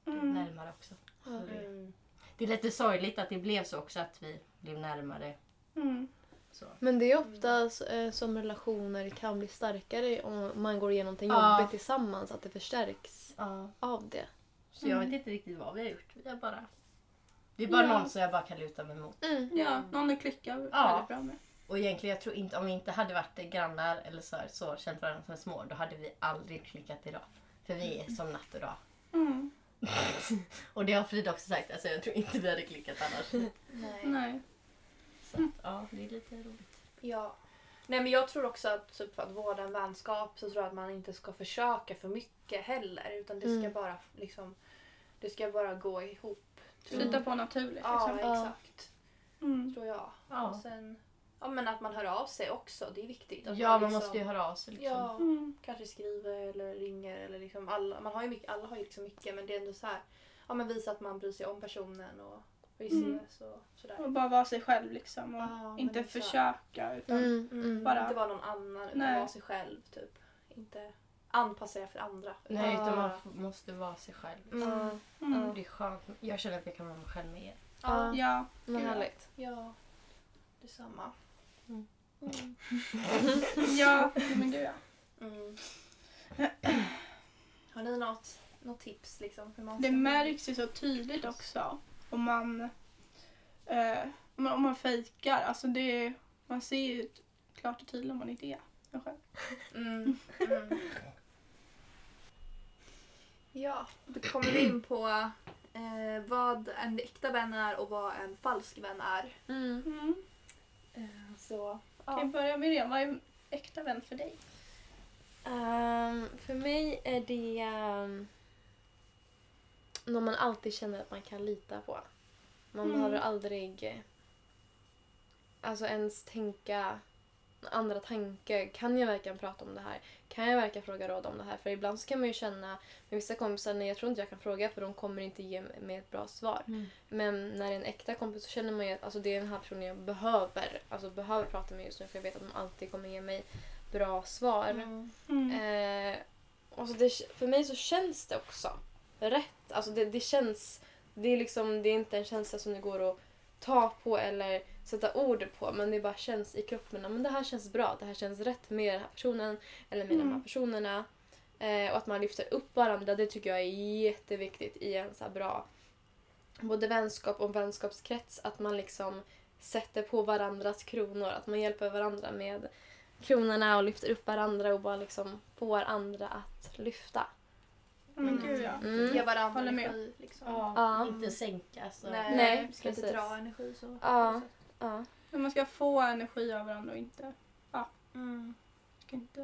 Speaker 3: vi blev
Speaker 4: Mm.
Speaker 3: närmare också.
Speaker 1: Ja.
Speaker 2: Mm.
Speaker 3: Det är lite sorgligt att det blev så också, att vi blev närmare.
Speaker 4: Mm.
Speaker 3: Så.
Speaker 1: Men det är ofta så- eh, som relationer kan bli starkare om man går igenom någonting
Speaker 3: Ja.
Speaker 1: jobbigt tillsammans. Att det förstärks
Speaker 3: Ja. Mm.
Speaker 1: av det.
Speaker 3: Så jag vet inte riktigt vad vi har gjort. Vi har bara... Det är bara
Speaker 4: Ja.
Speaker 3: någon som jag bara kan luta mig mot.
Speaker 1: Mm.
Speaker 4: Ja, någon du klickar
Speaker 3: Ja.
Speaker 4: väldigt bra med.
Speaker 3: Och egentligen, jag tror inte, om vi inte hade varit grannar eller så, här, så känt varandra som små, då hade vi aldrig klickat idag. För vi är som natt och dag.
Speaker 4: Mm.
Speaker 3: Och det har Frida också sagt, alltså jag tror inte vi hade klickat annars.
Speaker 2: Nej.
Speaker 4: Nej.
Speaker 3: Så att, ja, det är lite roligt.
Speaker 2: Ja. Nej men jag tror också att typ, för att vårda en vänskap så tror jag att man inte ska försöka för mycket heller. Utan det ska
Speaker 1: Mm.
Speaker 2: bara liksom, det ska bara gå ihop. tror jag.
Speaker 4: Flyta på naturligt
Speaker 2: Ja,
Speaker 4: liksom.
Speaker 2: exakt.
Speaker 4: Mm.
Speaker 2: Tror jag. Och
Speaker 3: Ja,
Speaker 2: sen, ja men att man hör av sig också, det är viktigt. Att
Speaker 3: ja man måste ju höra av sig liksom.
Speaker 2: Ja,
Speaker 4: Mm.
Speaker 2: kanske skriver eller ringer eller liksom alla, man har ju mycket, alla har ju liksom mycket men det är ändå så här, ja men visa att man bryr sig om personen och vi
Speaker 4: Mm.
Speaker 2: ses och sådär.
Speaker 4: Och bara vara sig själv liksom. Och
Speaker 2: Ja, men
Speaker 4: inte
Speaker 2: exakt.
Speaker 4: försöka utan
Speaker 2: Mm.
Speaker 4: Bara-
Speaker 2: Inte vara någon annan utan
Speaker 4: Nej.
Speaker 2: vara sig själv typ. Inte anpassa er för andra.
Speaker 3: Nej, utan man
Speaker 1: Ja.
Speaker 3: f- måste vara sig själv.
Speaker 1: Ja,
Speaker 4: Mm.
Speaker 3: Det är skönt. Jag känner att jag kan vara mig själv med er.
Speaker 2: Ja,
Speaker 4: Ja.
Speaker 1: men härligt.
Speaker 2: ja. Detsamma.
Speaker 3: Mm.
Speaker 2: Mm.
Speaker 4: Ja, men gud ja.
Speaker 2: Mm. Har ni något, något tips liksom? Hur man
Speaker 4: Det
Speaker 2: ska-
Speaker 4: märks ju så tydligt också om man, eh, om man, om man fejkar. Alltså det, man ser ju klart och tydligt om man inte är en själv.
Speaker 2: Mm. Mm. Ja, då kommer vi in på eh, vad en äkta vän är och vad en falsk vän är.
Speaker 1: Mm.
Speaker 4: Mm.
Speaker 2: Eh, så,
Speaker 4: Kan
Speaker 2: ja.
Speaker 4: jag börja med det? Vad är en äkta vän för dig?
Speaker 1: Ehm, för mig är det ehm, någon man alltid känner att man kan lita på. Man
Speaker 4: Mm.
Speaker 1: behöver aldrig eh, alltså ens tänka andra tankar. Kan jag verkligen prata om det här? Kan jag verkligen fråga råd om det här? För ibland så kan man ju känna med vissa kompisar, nej jag tror inte jag kan fråga för de kommer inte ge mig ett bra svar. Men när det är en äkta kompis så känner man ju att alltså, det är den här personen jag behöver, alltså, behöver prata med just nu för jag vet att de alltid kommer ge mig bra svar.
Speaker 2: Mm.
Speaker 4: Mm.
Speaker 1: Eh, och så det, för mig så känns det också rätt. Alltså det, det känns... Det är, liksom, det är inte en känsla som det går att ta på eller sätta ord på men det bara känns i kroppen. Men det här känns bra, det här känns rätt med den här personen eller med de här
Speaker 4: Mm.
Speaker 1: personerna. Eh, och att man lyfter upp varandra, det tycker jag är jätteviktigt i en så här bra både vänskap och vänskapskrets. Att man liksom sätter på varandras kronor, att man hjälper varandra med kronorna och lyfter upp varandra och bara liksom får andra att lyfta.
Speaker 4: Men gud ja.
Speaker 1: Mm.
Speaker 2: Ge varandra
Speaker 4: Håller med.
Speaker 2: energi. Liksom.
Speaker 1: Ja.
Speaker 3: Inte sänka. alltså. Så.
Speaker 2: Nej,
Speaker 1: Nej,
Speaker 2: vi ska inte
Speaker 1: precis.
Speaker 2: dra energi så.
Speaker 1: Ja. Ja.
Speaker 4: Men man ska få energi av varandra och inte...
Speaker 2: Mm.
Speaker 4: Ska inte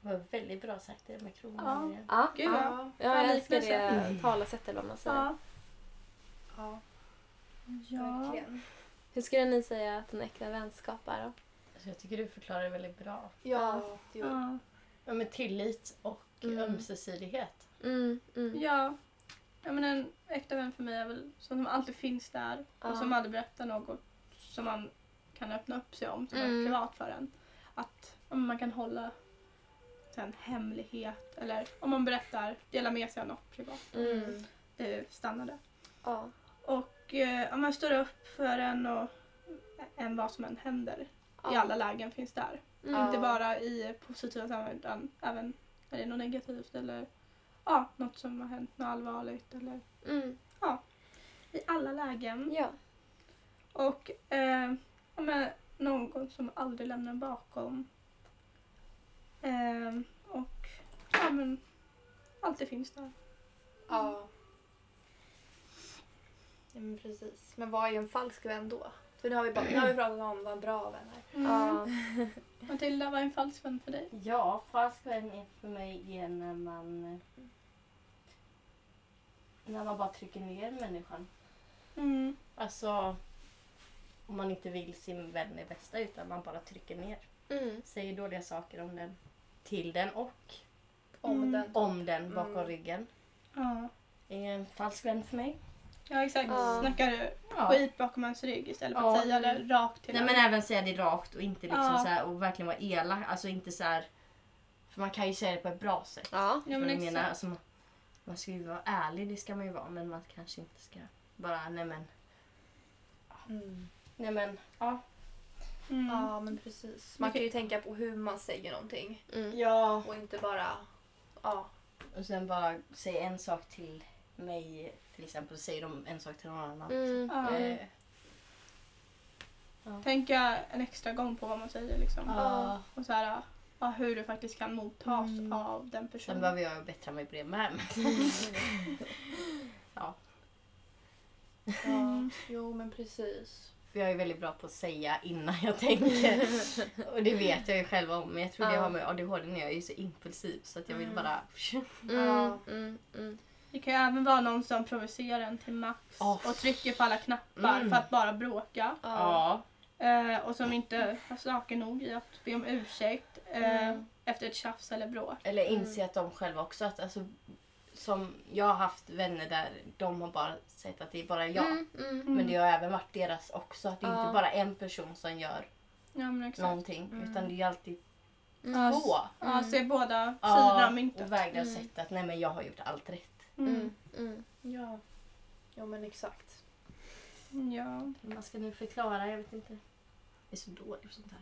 Speaker 3: Det var väldigt bra sagt det där med kronan.
Speaker 4: Ja.
Speaker 1: Ja.
Speaker 4: Gud ja.
Speaker 2: Ja.
Speaker 1: Ja, jag
Speaker 4: Ja,
Speaker 1: älskar det
Speaker 3: liknelse.
Speaker 1: talesättet eller vad man säger.
Speaker 4: ja.
Speaker 2: Ja,
Speaker 4: ja.
Speaker 2: verkligen.
Speaker 1: Hur skulle ni säga att en äkta vänskap är då?
Speaker 3: Så Alltså, jag tycker du förklarar det väldigt bra.
Speaker 2: Ja, det gjorde
Speaker 4: ja.
Speaker 3: Ja, men tillit och
Speaker 1: Mm.
Speaker 3: ömsesidighet.
Speaker 1: Mm, mm.
Speaker 4: Ja. ja men en äkta vän för mig är väl sån som alltid finns där
Speaker 1: Ja.
Speaker 4: och som aldrig berättar något som man kan öppna upp sig om som
Speaker 1: Mm.
Speaker 4: är privat för en. Att om man kan hålla en hemlighet eller om man berättar, dela med sig av något privat.
Speaker 1: Mm.
Speaker 4: Det stannar där.
Speaker 1: Ja.
Speaker 4: Och eh, om man står upp för en och en vad som än händer i alla lägen finns där.
Speaker 1: Mm.
Speaker 4: Inte bara i positiva sammanhang utan även när det är något negativt eller ja, något som har hänt, något allvarligt eller
Speaker 1: Mm.
Speaker 4: i alla lägen.
Speaker 1: Ja.
Speaker 4: Och eh, ja, men någon som aldrig lämnar bakom. Eh, och ja, men alltid finns där.
Speaker 2: Ja. ja men precis. Men vad är en falsk vän då? För nu har vi, bara, nu har vi pratat om vad en bra vän är.
Speaker 4: Mm.
Speaker 1: Ja.
Speaker 4: Matilda, vad är en falsk vän för dig?
Speaker 3: Ja, falsk vän är för mig är när man... När man bara trycker ner människan.
Speaker 4: Mm.
Speaker 3: Alltså, om man inte vill sin vän det bästa utan man bara trycker ner.
Speaker 1: Mm.
Speaker 3: Säger dåliga saker om den. Till den och
Speaker 2: Om
Speaker 4: Mm.
Speaker 2: den.
Speaker 3: om den bakom
Speaker 2: Mm.
Speaker 3: ryggen.
Speaker 4: Ja.
Speaker 3: Är en falsk vän för mig.
Speaker 4: ja, exakt.
Speaker 1: Ja.
Speaker 4: Snackar
Speaker 3: Ja.
Speaker 4: skit bakom hans rygg istället för att
Speaker 3: Ja.
Speaker 4: säga det rakt till
Speaker 3: Nej men
Speaker 4: honom.
Speaker 3: även säga det rakt och inte liksom
Speaker 4: Ja.
Speaker 3: så här, och verkligen vara elak. Alltså inte så här, För man kan ju säga det på ett bra sätt.
Speaker 1: Ja.
Speaker 4: Ja, men
Speaker 3: jag menar,
Speaker 4: exakt.
Speaker 3: alltså, man, man ska ju vara ärlig, det ska man ju vara. Men man kanske inte ska bara nej men.
Speaker 2: Mm.
Speaker 3: Nej men. Ja.
Speaker 4: Mm.
Speaker 2: Ja men precis. Man kan ju tänka på hur man säger någonting
Speaker 1: Mm.
Speaker 3: Ja.
Speaker 2: och inte bara ja.
Speaker 3: Och sen bara säga en sak till Eh, mig till exempel. Säger de en sak till någon annan.
Speaker 1: Mm.
Speaker 4: Ja.
Speaker 3: Eh, ja.
Speaker 4: tänka en extra gång på vad man säger liksom.
Speaker 3: Ja.
Speaker 4: Och så här, ja, hur det faktiskt kan mottas av den
Speaker 3: Sen
Speaker 4: personen.
Speaker 3: behöver jag bättra mig på det med. men- ja.
Speaker 4: Mm.
Speaker 2: Ja, jo men precis.
Speaker 3: För jag är väldigt bra på att säga innan jag tänker. Och det vet jag ju själv om. Men jag tror det
Speaker 2: Ja.
Speaker 3: har med ADHD när jag är så impulsiv så att jag vill bara...
Speaker 1: Mm,
Speaker 2: Ja.
Speaker 1: mm, mm.
Speaker 4: Det kan ju även vara någon som provocerar en till max
Speaker 3: Åh.
Speaker 4: och trycker på alla knappar
Speaker 3: Mm.
Speaker 4: för att bara bråka.
Speaker 3: Ja.
Speaker 4: Eh, och som inte har saker nog i att be om ursäkt eh,
Speaker 1: Mm.
Speaker 4: efter ett tjafs eller bråk.
Speaker 3: Eller inse att de själva också att alltså, som jag har haft vänner där de har bara sett att det är bara jag.
Speaker 1: Mm, mm.
Speaker 3: Men det har även varit deras också. Att det är
Speaker 2: Ja.
Speaker 3: inte bara en person som gör
Speaker 4: Ja men exakt.
Speaker 3: någonting. Utan det är alltid
Speaker 4: Ja, s-
Speaker 3: två.
Speaker 4: Ja, se båda sidor
Speaker 3: Ja,
Speaker 4: av myntet.
Speaker 3: och väga och
Speaker 1: Mm.
Speaker 3: sätta att nej men jag har gjort allt rätt.
Speaker 4: Mm.
Speaker 1: Mm, mm.
Speaker 2: Ja. Jo men exakt.
Speaker 4: Mm. Ja.
Speaker 3: Man ska nu förklara, jag vet inte. Det är så dåligt sånt här.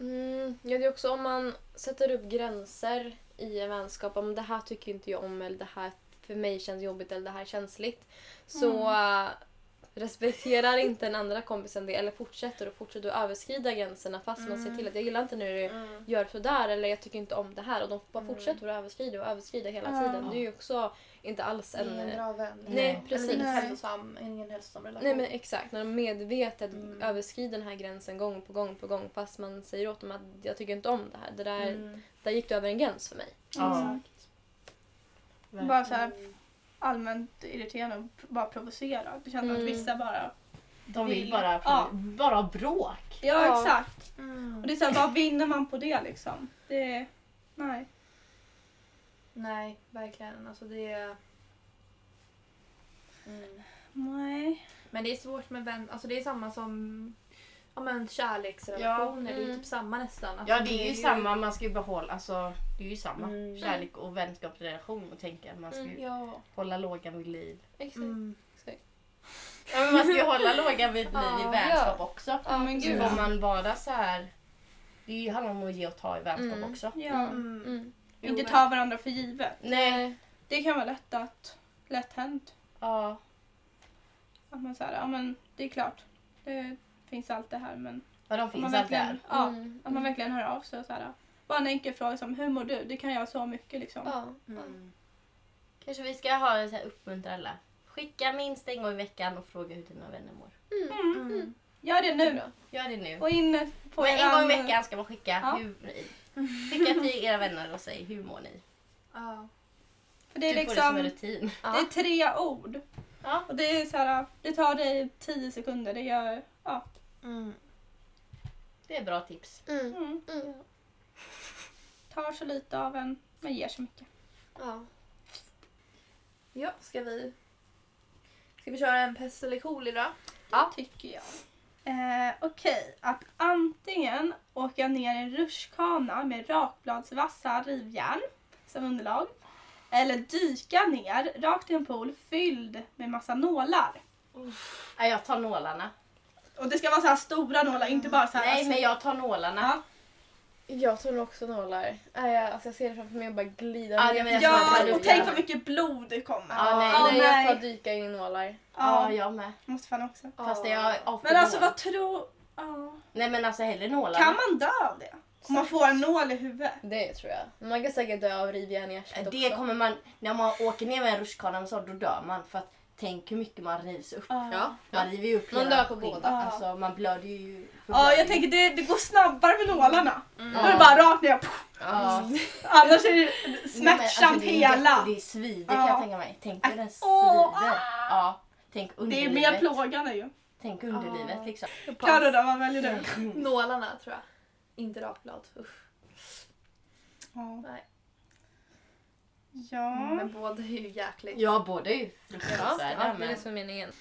Speaker 1: Mm, ja, det är också om man sätter upp gränser i en vänskap. Om det här tycker inte jag om eller det här för mig känns jobbigt eller det här är känsligt. Så äh, respekterar inte den andra kompisen det eller fortsätter och fortsätter att överskrida gränserna fast man ser till att jag gillar inte när
Speaker 4: Mm.
Speaker 1: du
Speaker 2: Mm.
Speaker 1: gör sådär eller jag tycker inte om det här. Och de bara fortsätter att överskrida och överskrida hela
Speaker 4: Ja.
Speaker 1: tiden. Det är ju också inte alls en...
Speaker 2: Ingen bra vän.
Speaker 1: Nej,
Speaker 3: Nej.
Speaker 1: Eh, precis.
Speaker 2: Eller ingen
Speaker 4: Nej.
Speaker 2: hälsosam, ingen hälsosam relation.
Speaker 1: Nej men exakt, när de medvetet
Speaker 2: Mm.
Speaker 1: överskrider den här gränsen gång på gång på gång fast man säger åt dem att jag tycker inte om det här. Det där,
Speaker 2: Mm.
Speaker 1: där gick du över en gräns för mig.
Speaker 3: Ja.
Speaker 2: Mm.
Speaker 4: Bara så här allmänt irriterande och pr- bara provocerad. Det känns som
Speaker 1: Mm.
Speaker 4: att vissa bara...
Speaker 3: De vill
Speaker 4: vill-
Speaker 3: bara,
Speaker 4: ja.
Speaker 3: bara ha bråk.
Speaker 4: Ja,
Speaker 1: Ja.
Speaker 4: exakt.
Speaker 2: Mm.
Speaker 4: Och det är så här, vad vinner man på det liksom? Det... Nej.
Speaker 2: Nej, verkligen. Alltså det är... Mm.
Speaker 4: Nej.
Speaker 2: Men det är svårt med vän... Alltså det är samma som ja, men kärleksrelationer.
Speaker 1: Ja,
Speaker 2: Det är
Speaker 1: mm.
Speaker 2: typ samma nästan. Alltså
Speaker 3: Ja det är ju samma, man ska ju behålla, alltså det är ju samma.
Speaker 2: Mm.
Speaker 3: Kärlek och vänskapsrelation och tänka man ska ju
Speaker 1: Mm.
Speaker 2: Ja.
Speaker 3: hålla lågan vid liv.
Speaker 1: Exakt.
Speaker 2: Mm.
Speaker 1: exakt.
Speaker 3: Ja, men man ska ju hålla lågan vid liv i
Speaker 2: Ja.
Speaker 3: vänskap också.
Speaker 4: Ja, men
Speaker 3: Så
Speaker 4: gud.
Speaker 3: får man bara så här. Det är ju handlar om att ge och ta i vänskap
Speaker 1: Mm.
Speaker 3: också.
Speaker 4: Ja.
Speaker 2: Mm.
Speaker 1: Mm.
Speaker 2: Jo,
Speaker 4: Inte
Speaker 2: men-
Speaker 4: ta varandra för givet.
Speaker 3: Nej.
Speaker 4: Det kan vara lätt att... Lätt hänt.
Speaker 3: Ja.
Speaker 4: Att man säger, ja men det är klart. Det finns allt det här men...
Speaker 3: ja de
Speaker 4: Om man
Speaker 3: finns allt
Speaker 4: verkligen,
Speaker 3: där.
Speaker 4: Ja,
Speaker 1: Mm.
Speaker 4: Om man verkligen hör av sig och så här. Bara en enkel fråga som hur mår du? Det kan jag så mycket liksom.
Speaker 1: Ja.
Speaker 2: Mm.
Speaker 3: Kanske vi ska ha en så här uppmuntra alla. Skicka minst en gång i veckan och fråga hur dina vänner mår.
Speaker 4: Mm.
Speaker 2: Mm.
Speaker 4: Gör det nu.
Speaker 1: Jättebra.
Speaker 3: Gör det nu.
Speaker 4: Och in på
Speaker 3: Men en
Speaker 4: eran-
Speaker 3: gång i veckan ska man skicka.
Speaker 4: Ja.
Speaker 3: Hur, skicka till era vänner och säg hur mår ni?
Speaker 2: Ja.
Speaker 4: För det är
Speaker 3: du får det som en
Speaker 4: liksom
Speaker 3: rutin.
Speaker 4: det är tre ord.
Speaker 3: Ja.
Speaker 4: Och det är så här, det tar dig tio sekunder. Det gör, ja.
Speaker 2: Mm.
Speaker 3: Det är bra tips.
Speaker 1: Mm.
Speaker 4: Mm.
Speaker 1: Mm.
Speaker 4: Tar så lite av en men ger så mycket.
Speaker 1: Ja.
Speaker 2: Ja, ska vi... Ska vi köra en pest eller kolera?
Speaker 1: Ja.
Speaker 4: Tycker jag. Eh, Okej, att antingen åka ner i en rutschkana med rakbladsvassa rivjärn som underlag. Eller dyka ner rakt i en pool fylld med massa nålar.
Speaker 3: Nej, jag tar nålarna.
Speaker 4: Och det ska vara så här stora nålar, inte bara så här.
Speaker 3: Nej, men jag tar nålarna.
Speaker 4: alltså- Ja.
Speaker 1: Jag tror nog också nålar. Äh, jag, alltså jag ser det framför mig och bara glida
Speaker 3: Ja,
Speaker 1: ner.
Speaker 3: det menar jag som att
Speaker 4: Ja,
Speaker 3: jag
Speaker 4: och tänk vad mycket blod det kommer.
Speaker 3: Ja, nej,
Speaker 1: nej,
Speaker 4: nej.
Speaker 1: jag tar dyka in i nålar.
Speaker 3: Ja,
Speaker 4: Ja,
Speaker 3: jag med.
Speaker 4: måste fan också.
Speaker 3: Fast jag är
Speaker 4: Men alltså vad tror... ja.
Speaker 3: Nej men alltså hellre nålarna.
Speaker 4: Kan man dö av det? Om man får en nål i huvudet?
Speaker 1: Det tror jag. Men Man kan säkert dö av rivjärn i arslet
Speaker 3: Det
Speaker 1: också.
Speaker 3: kommer man, när man åker ner med en rutschkana och så, då dör man. För att tänk hur mycket man rivs upp.
Speaker 1: Ja.
Speaker 3: Man river ju upp
Speaker 1: Man
Speaker 3: hela
Speaker 1: dör på
Speaker 3: skinnet.
Speaker 1: båda.
Speaker 3: Alltså man blöder ju.
Speaker 4: Ja, jag
Speaker 3: förblöder ju.
Speaker 4: tänker det, det går snabbare med nålarna. Då är
Speaker 3: Ja.
Speaker 4: det bara rakt ner.
Speaker 3: Ja.
Speaker 4: Annars är det
Speaker 3: Nej, men
Speaker 4: smärtsamt
Speaker 3: alltså, det är
Speaker 4: hela.
Speaker 3: jätte- Det är svider
Speaker 4: Ja.
Speaker 3: kan jag tänka mig. Tänk hur den
Speaker 4: Åh,
Speaker 3: svider. Ja. Tänk
Speaker 4: det är
Speaker 3: underlivet.
Speaker 4: mer plågande ju.
Speaker 3: Tänk underlivet
Speaker 2: Ja.
Speaker 3: liksom.
Speaker 4: Karo då, vad väljer du?
Speaker 2: Nålarna tror jag. Inte rakblad. Usch. Nej. Mm,
Speaker 4: Ja.
Speaker 2: Men båda är ju jäkligt.
Speaker 3: Ja båda är ju
Speaker 1: Ja,
Speaker 3: fruktansvärda.
Speaker 1: ja det är det
Speaker 3: men...
Speaker 1: som är meningen.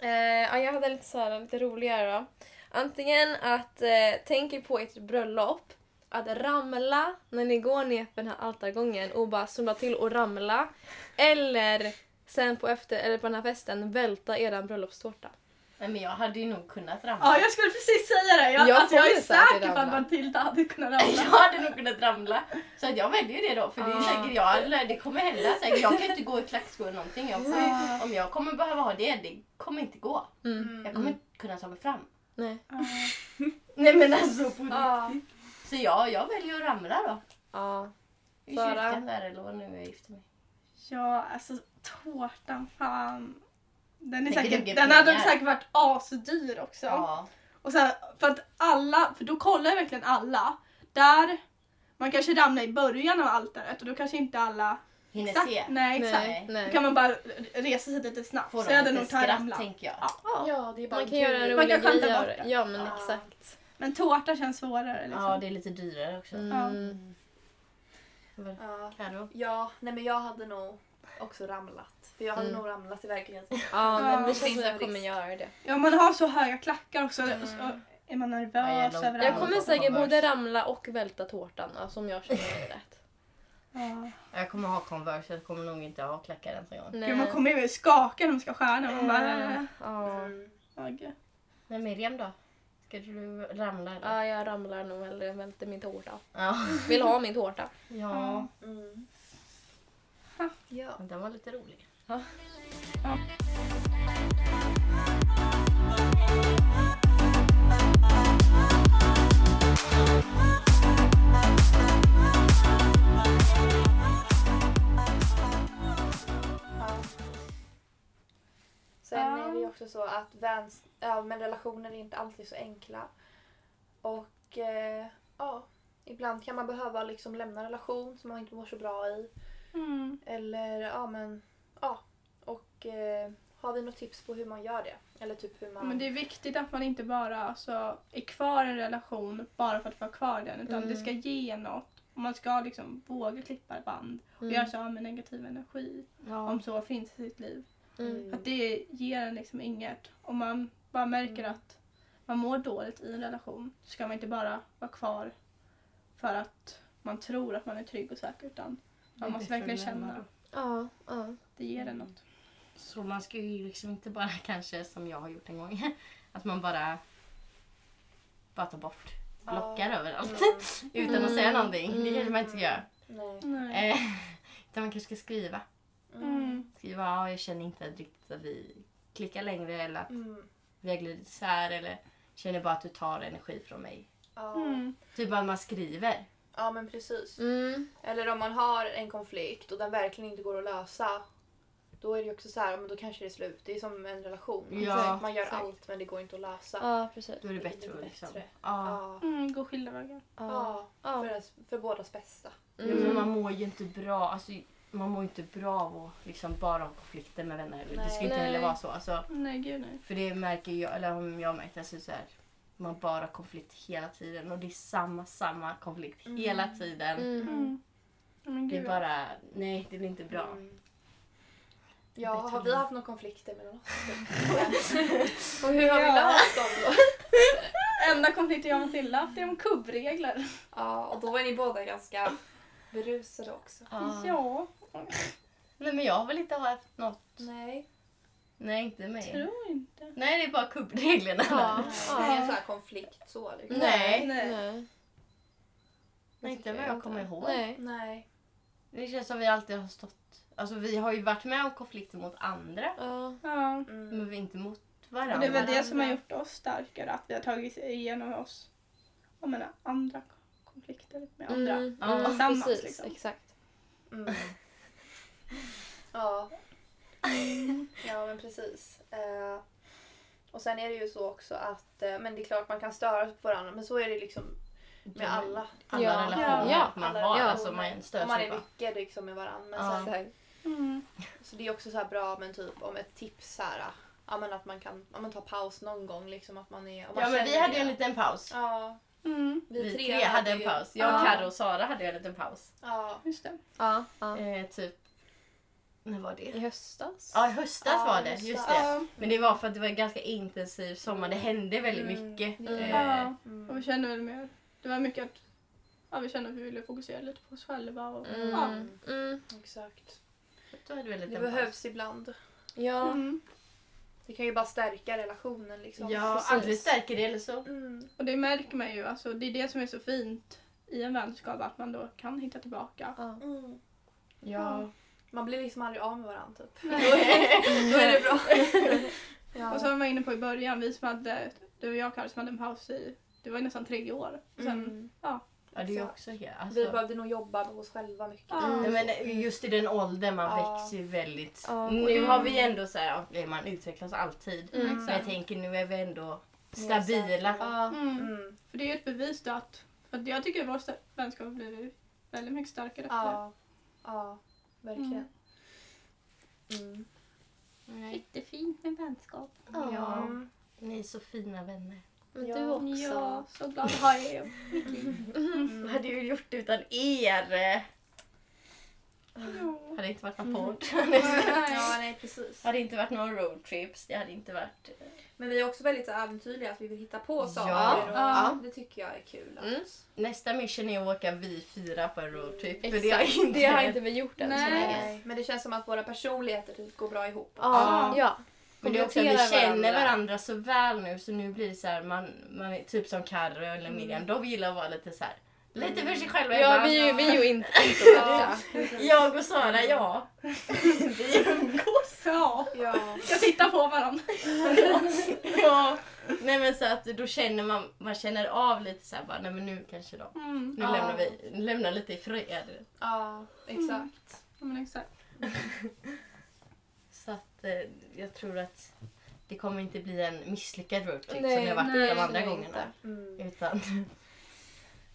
Speaker 1: Eh, ja, jag hade lite, så här, lite roligare då. Antingen att eh, tänka på ert bröllop, att ramla när ni går ner för den här altargången och bara sumla till och ramla. Eller sen på, efter, eller på den här festen välta er bröllopstårta.
Speaker 3: Nej, men jag hade ju nog kunnat ramla.
Speaker 4: Ja, jag skulle precis säga det. Jag,
Speaker 1: Jag
Speaker 4: jag, alltså, jag
Speaker 1: kommer
Speaker 4: är
Speaker 1: säkert
Speaker 4: säker på att
Speaker 1: ramla.
Speaker 4: Matilda hade kunnat ramla.
Speaker 3: Jag hade nog kunnat ramla. Så att jag väljer det då. För det, är
Speaker 1: Ah.
Speaker 3: säkert, jag, eller det kommer hända säkert. Jag kan ju inte gå i klackskor eller någonting. Jag får, ju- om jag kommer behöva ha det, det kommer inte gå.
Speaker 1: Mm.
Speaker 3: Jag kommer inte kunna ta mig fram.
Speaker 1: Nej.
Speaker 3: Nej men alltså på
Speaker 2: Ja.
Speaker 3: Så jag, jag väljer att ramla då.
Speaker 1: Ja.
Speaker 3: I
Speaker 1: Sara?
Speaker 3: kyrkan där eller vad nu jag gifter mig.
Speaker 4: Ja, alltså tårtan fan. Den, är
Speaker 3: Tänker
Speaker 4: säkert,
Speaker 3: mycket
Speaker 4: den hade
Speaker 3: pengar.
Speaker 4: säkert varit asdyr också.
Speaker 3: Ja.
Speaker 4: Och sen, för att alla, för då kollar ju verkligen alla. Där, man kanske ramlar i början av altaret och då kanske inte alla...
Speaker 3: Hinner
Speaker 4: Exakt,
Speaker 3: se.
Speaker 4: nej, exakt.
Speaker 1: Nej.
Speaker 4: Då
Speaker 1: Nej.
Speaker 4: kan man bara resa sig lite snabbt.
Speaker 3: Får
Speaker 4: så
Speaker 3: de
Speaker 4: jag hade
Speaker 3: lite
Speaker 4: nog tagit
Speaker 3: skratt
Speaker 4: ramlan.
Speaker 3: tänker jag.
Speaker 4: Ja.
Speaker 2: ja, det är bara
Speaker 1: Man
Speaker 2: en
Speaker 1: kan göra en
Speaker 2: kul-
Speaker 4: Man kan
Speaker 1: rolig grej.
Speaker 4: skämta bort
Speaker 1: av-
Speaker 4: det.
Speaker 1: Ja, men
Speaker 2: Ja.
Speaker 1: exakt.
Speaker 4: Men tårta känns svårare liksom.
Speaker 3: Ja, det är lite dyrare också.
Speaker 1: Mm.
Speaker 2: Ja.
Speaker 3: Karo.
Speaker 2: ja, nej men jag hade nog också ramlat. För jag hade
Speaker 1: Mm.
Speaker 2: nog ramlat i verkligheten.
Speaker 1: Ja,
Speaker 4: Ja.
Speaker 1: men det känns som
Speaker 2: Finns en
Speaker 1: jag kommer
Speaker 2: risk.
Speaker 1: göra det.
Speaker 4: Ja, man har så höga klackar också. och Så är
Speaker 3: Mm.
Speaker 4: man
Speaker 3: Ja,
Speaker 4: nervös
Speaker 3: jävlar.
Speaker 4: över
Speaker 3: Ja,
Speaker 1: Jag
Speaker 4: allt.
Speaker 1: kommer
Speaker 3: det
Speaker 1: säkert
Speaker 3: kommer.
Speaker 1: både ramla och välta tårtan, alltså, om jag känner mig rätt.
Speaker 4: Ja.
Speaker 3: Jag kommer ha Converse, jag kommer nog inte ha klackar ens en gång.
Speaker 1: Nej.
Speaker 4: Gud, man kommer ju skaka när man ska skära. Man bara,
Speaker 1: Ja.
Speaker 2: Mm.
Speaker 4: Åh, gud.
Speaker 3: Nej Miriam då? Ska du ramla eller?
Speaker 1: ja, jag ramlar nog eller välter min tårta.
Speaker 3: Ja.
Speaker 1: Vill ha min tårta.
Speaker 3: ja.
Speaker 2: Mm.
Speaker 4: Ha.
Speaker 2: Ja.
Speaker 3: Den var lite rolig.
Speaker 2: Sen
Speaker 4: Ja.
Speaker 2: är det ju också så att väns- ja, men relationer är inte alltid så enkla. Och eh, ja, ibland kan man behöva liksom lämna en relation som man inte mår så bra i.
Speaker 4: Mm.
Speaker 2: Eller ja men ja. Och eh, har vi något tips på hur man gör det? Eller typ hur man...
Speaker 4: Men det är viktigt att man inte bara alltså, är kvar i en relation bara för att vara kvar i den. Utan
Speaker 1: Mm.
Speaker 4: det ska ge något. Och man ska liksom våga klippa band och
Speaker 1: Mm.
Speaker 4: göra sig av med negativ energi.
Speaker 3: Ja.
Speaker 4: Om så finns i sitt liv.
Speaker 1: Mm.
Speaker 4: Att det ger en liksom inget. Om man bara märker
Speaker 3: Mm.
Speaker 4: att man mår dåligt i en relation så ska man inte bara vara kvar för att man tror att man är trygg och säker. Utan
Speaker 3: Det är
Speaker 4: man måste
Speaker 3: bättre
Speaker 4: verkligen
Speaker 3: att lämna
Speaker 4: känna.
Speaker 3: då.
Speaker 1: Ja, ja.
Speaker 4: Det ger en något.
Speaker 3: Så man ska ju liksom inte bara kanske som jag har gjort en gång. Att man bara bara tar bort blockar överallt. Utan att säga någonting. Det kanske man inte ska göra.
Speaker 4: Mm.
Speaker 2: Nej.
Speaker 4: Nej.
Speaker 3: Eh, utan man kanske ska skriva.
Speaker 4: Mm.
Speaker 3: Skriva ja, jag känner inte riktigt att vi klickar längre eller att
Speaker 2: Mm.
Speaker 3: vi har glidit isär eller känner bara att du tar energi från mig.
Speaker 2: Ja.
Speaker 4: Mm.
Speaker 3: Typ att man skriver.
Speaker 2: ja men precis.
Speaker 1: Mm.
Speaker 2: Eller om man har en konflikt och den verkligen inte går att lösa. Då är det ju också så här, ja, men då kanske det är slut. Det är som en relation.
Speaker 3: Ja,
Speaker 2: Exakt, man gör
Speaker 1: exakt.
Speaker 2: allt men det går inte att lösa.
Speaker 1: ja precis.
Speaker 3: Då är det
Speaker 2: Det är
Speaker 3: bättre
Speaker 2: lite
Speaker 3: att liksom...
Speaker 2: bättre.
Speaker 3: Ja.
Speaker 2: Ja.
Speaker 4: Mm, gå skilda vägar.
Speaker 1: Ja.
Speaker 2: Ja.
Speaker 1: Ja.
Speaker 2: För, ens- för bådas bästa.
Speaker 3: Ja,
Speaker 1: Mm.
Speaker 3: men Liksom, man mår ju inte bra. Alltså, man mår ju inte bra av att liksom bara ha konflikter med vänner. det ska
Speaker 2: Nej.
Speaker 3: inte heller
Speaker 1: Nej.
Speaker 3: vara så. Alltså,
Speaker 4: Nej, gud nej.
Speaker 3: för det märker jag, eller om jag har märkt, alltså, så här, man bara har konflikt hela tiden. Och det är samma, samma konflikt
Speaker 2: Mm.
Speaker 3: hela tiden.
Speaker 1: Mm.
Speaker 4: Men
Speaker 3: Det
Speaker 4: gud.
Speaker 3: är bara, nej det blir inte bra.
Speaker 2: Mm. Ja, har vi haft några konflikter mellan oss?
Speaker 1: Och hur har vi
Speaker 4: Ja.
Speaker 1: löst dem då?
Speaker 4: Enda konflikten jag och Matilda haft är om kubbregler.
Speaker 2: Ja, och då var ni båda ganska berusade också.
Speaker 1: Ah,
Speaker 3: Ja.
Speaker 4: Ja,
Speaker 3: Nej men jag har väl inte haft något.
Speaker 2: Nej.
Speaker 3: Nej inte mig.
Speaker 4: tror inte.
Speaker 3: Nej det är bara kuppreglerna.
Speaker 1: Ja.
Speaker 2: Det är en
Speaker 1: ja.
Speaker 2: sån här konflikt så liksom.
Speaker 3: Nej.
Speaker 1: Nej.
Speaker 3: Nej, inte vad jag kommer ihåg.
Speaker 1: Nej.
Speaker 2: Nej.
Speaker 3: Det känns som vi alltid har stått... Alltså vi har ju varit med om konflikter mot andra.
Speaker 1: Ja.
Speaker 4: Ja.
Speaker 2: Mm.
Speaker 3: Men vi inte mot
Speaker 4: Och
Speaker 3: varandra.
Speaker 4: det är väl det
Speaker 2: varandra.
Speaker 4: som har gjort oss starkare, att vi har tagit igenom oss jag menar, andra konflikter med andra.
Speaker 1: Mm.
Speaker 3: Ja.
Speaker 1: Mm.
Speaker 4: Tillsammans,
Speaker 1: Precis,
Speaker 4: liksom.
Speaker 1: exakt.
Speaker 2: Mm. Ja. Ja men precis. Eh, och sen är det ju så också att, eh, men det är klart man kan störa sig på varandra men så är det liksom med alla.
Speaker 3: alla
Speaker 1: Ja.
Speaker 3: relationer
Speaker 1: Ja.
Speaker 3: man
Speaker 2: Alla
Speaker 3: har.
Speaker 1: relationer.
Speaker 3: Alltså man stör
Speaker 2: Om man
Speaker 3: sig
Speaker 2: är
Speaker 3: bara.
Speaker 2: mycket liksom med varandra. Men
Speaker 3: Ja.
Speaker 2: sen,
Speaker 1: Exakt.
Speaker 4: Mm.
Speaker 2: Så det är också så här bra men typ om ett tips så här. Ja men att man kan ja, men ta paus någon gång liksom att man är... Om man
Speaker 3: Ja men vi
Speaker 2: känner
Speaker 3: hade
Speaker 2: det.
Speaker 3: ju en liten paus.
Speaker 2: Ja,
Speaker 4: Mm.
Speaker 2: vi,
Speaker 3: Vi tre hade en
Speaker 2: ju-
Speaker 3: paus. Jag,
Speaker 2: Ja.
Speaker 3: Carro och Sara hade ju en liten paus.
Speaker 2: Ja.
Speaker 4: Just det.
Speaker 1: Ja. ja.
Speaker 3: Eh, typ... När var det?
Speaker 1: I höstas?
Speaker 3: Ja i höstas
Speaker 2: Ja,
Speaker 3: var det.
Speaker 2: höstas.
Speaker 3: Just det.
Speaker 4: Ja.
Speaker 3: Men det var för att det var en ganska intensiv sommar. Det hände väldigt
Speaker 2: Mm.
Speaker 3: mycket.
Speaker 2: Mm.
Speaker 3: Eh,
Speaker 4: ja. Och
Speaker 2: Mm.
Speaker 4: vi kände väl mer, det var mycket att ja, vi kände att vi ville fokusera lite på oss själva. Och, ja.
Speaker 1: Mm. Mm.
Speaker 2: Exakt.
Speaker 3: Då hade vi en
Speaker 2: Det
Speaker 3: liten paus.
Speaker 2: behövs ibland.
Speaker 1: Ja.
Speaker 4: Mm.
Speaker 2: Det kan ju bara stärka relationen liksom.
Speaker 3: Ja,
Speaker 1: Precis.
Speaker 3: aldrig stärker det eller så.
Speaker 2: Mm.
Speaker 4: och det märker man ju, alltså, det är det som är så fint i en vänskap, att man då kan hitta tillbaka.
Speaker 1: Ja.
Speaker 2: Mm.
Speaker 3: Ja.
Speaker 2: Man blir liksom aldrig av med varandra typ. Då är, då är det bra.
Speaker 4: Och
Speaker 2: Ja.
Speaker 4: som jag var inne på i början, vi som hade du och jag Karin som hade en paus i, det var ju nästan tre år. Sen,
Speaker 3: Ja, det är ju också helt... Alltså,
Speaker 2: Mm. Vi behövde nog jobba med oss själva mycket. Mm.
Speaker 4: Ja.
Speaker 3: Nej, men just i den åldern man
Speaker 2: Ja.
Speaker 3: växer ju väldigt.
Speaker 1: Ja.
Speaker 3: Nu har vi ändå så här, okej, man utvecklas alltid.
Speaker 1: Mm.
Speaker 3: Men jag tänker nu är vi ändå stabila.
Speaker 2: Ja.
Speaker 4: Mm.
Speaker 2: Mm.
Speaker 4: För det är ju ett bevis då att, för att jag tycker att vår sta- vänskap har blivit väldigt mycket starkare efter det.
Speaker 2: Ja. ja, verkligen. Mm.
Speaker 4: Jättefint med vänskap.
Speaker 3: Ja.
Speaker 2: Mm.
Speaker 3: Ni är så fina vänner.
Speaker 1: Men
Speaker 2: Ja.
Speaker 1: du också.
Speaker 4: Ja, så glad har jag er.
Speaker 3: Mm. Vad hade jag gjort utan er? Mm.
Speaker 4: Ja.
Speaker 3: Hade inte varit någon podd.
Speaker 2: Ja, nej precis.
Speaker 3: hade inte varit någon roadtrips. Det hade inte varit...
Speaker 2: Men vi är också väldigt så här äventyrliga att vi vill hitta på saker.
Speaker 3: Ja.
Speaker 2: Och
Speaker 4: Ja.
Speaker 2: Det tycker jag är kul. att-
Speaker 1: Mm.
Speaker 3: Nästa mission är att åka vi fyra på en roadtrip. För
Speaker 1: Exakt.
Speaker 3: det har inte...
Speaker 1: Det har inte vi gjort än så
Speaker 4: Nej.
Speaker 1: länge.
Speaker 2: Nej, Men det känns som att våra personligheter typ går bra ihop.
Speaker 1: Ja.
Speaker 4: Ja.
Speaker 1: ja.
Speaker 3: Men det är också att vi
Speaker 1: Kompletterar
Speaker 3: känner varandra. så väl nu så nu blir det så här, man, man är typ som Carro eller Miriam. De gillar att vara lite så här, lite för sig själva.
Speaker 1: Ja,
Speaker 3: ibland.
Speaker 1: vi är ju, vi är ju inte introverta.
Speaker 3: Jag och Sara, ja. vi umgås.
Speaker 4: Ja.
Speaker 2: Ja.
Speaker 4: Ska titta på varandra.
Speaker 3: Ja. Nej men så att då känner man, man känner av lite så här, bara, nej men nu kanske de,
Speaker 4: Mm.
Speaker 3: nu
Speaker 2: Ja.
Speaker 3: lämnar vi, lämnar lite i fred.
Speaker 2: ja, exakt.
Speaker 4: Ja, men exakt.
Speaker 3: Så att eh, jag tror att det kommer inte bli en misslyckad roadtrip som
Speaker 1: Nej,
Speaker 3: det har varit
Speaker 4: nej,
Speaker 3: de andra
Speaker 1: nej,
Speaker 3: gångerna.
Speaker 2: Mm.
Speaker 3: Utan,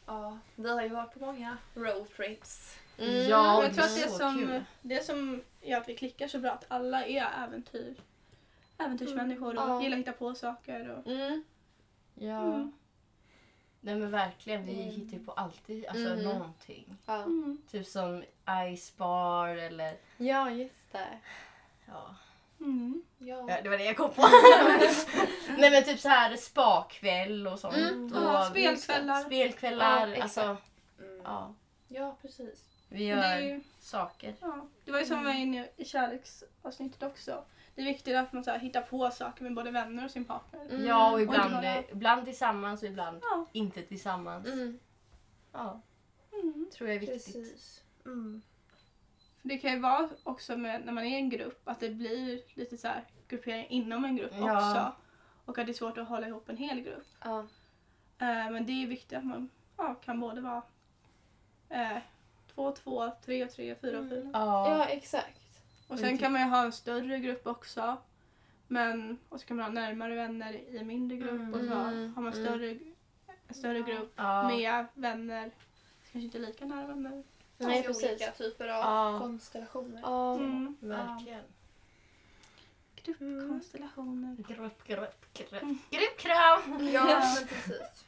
Speaker 2: Ja, vi har ju varit på många roadtrips.
Speaker 1: Mm.
Speaker 3: Ja,
Speaker 4: jag tror att
Speaker 3: det är
Speaker 4: det
Speaker 3: så
Speaker 4: som,
Speaker 3: kul.
Speaker 4: det som gör att vi klickar så bra att alla är äventyr. Äventyrsmänniskor och
Speaker 1: Ja.
Speaker 4: gillar att hitta på saker. Och,
Speaker 1: Mm.
Speaker 3: ja.
Speaker 4: mm.
Speaker 3: Nej men verkligen, vi
Speaker 2: Mm.
Speaker 3: hittar ju på alltid alltså
Speaker 1: Mm.
Speaker 3: någonting.
Speaker 1: Ja.
Speaker 4: Mm.
Speaker 3: Typ som Ice Bar eller
Speaker 1: ja, just det.
Speaker 3: ja.
Speaker 4: Mm.
Speaker 2: Ja.
Speaker 3: ja, det var det jag kom på. Nej men typ så här spakväll och sånt.
Speaker 1: Mm.
Speaker 3: Och liksom
Speaker 4: Ja, spelkvällar.
Speaker 3: Spelkvällar,
Speaker 1: Ja, exakt.
Speaker 3: alltså
Speaker 2: Mm.
Speaker 3: ja.
Speaker 2: ja, precis.
Speaker 3: Vi
Speaker 4: Men
Speaker 3: gör
Speaker 4: Det, är ju,
Speaker 3: saker.
Speaker 4: ja. det var ju som vi var inne i kärleksavsnittet också. Det är viktigt att man så här, hittar på saker med både vänner och sin partner.
Speaker 1: Mm.
Speaker 3: Ja och
Speaker 1: Oj,
Speaker 3: ibland,
Speaker 4: vad bra.
Speaker 3: eh, ibland tillsammans och ibland
Speaker 4: Ja.
Speaker 3: inte tillsammans.
Speaker 1: Mm.
Speaker 3: Ja,
Speaker 4: Mm.
Speaker 3: tror jag är viktigt.
Speaker 2: Precis. Mm.
Speaker 4: För det kan ju vara också med, när man är i en grupp att det blir lite så här gruppering inom en grupp
Speaker 3: Ja.
Speaker 4: också. Och att det är svårt att hålla ihop en hel grupp.
Speaker 1: Ja.
Speaker 4: Eh, men det är viktigt att man ja, kan både vara eh, två och två, tre och tre, fyra och fyra.
Speaker 1: ja, exakt.
Speaker 4: Och sen kan man ju ha en större grupp också. Men, och så kan man ha närmare vänner i mindre grupp och så
Speaker 1: Mm,
Speaker 4: har man
Speaker 1: mm.
Speaker 4: större, en större grupp
Speaker 3: ja.
Speaker 4: med vänner. Kanske inte lika nära vänner.
Speaker 1: Nej,
Speaker 2: Alltså
Speaker 1: precis.
Speaker 2: Olika typer av
Speaker 3: Ja.
Speaker 2: konstellationer.
Speaker 1: Ja.
Speaker 4: Mm.
Speaker 3: Verkligen.
Speaker 4: Gruppkonstellationer.
Speaker 3: Grupp, grupp, grupp, grupp, kram!
Speaker 2: Ja, men precis.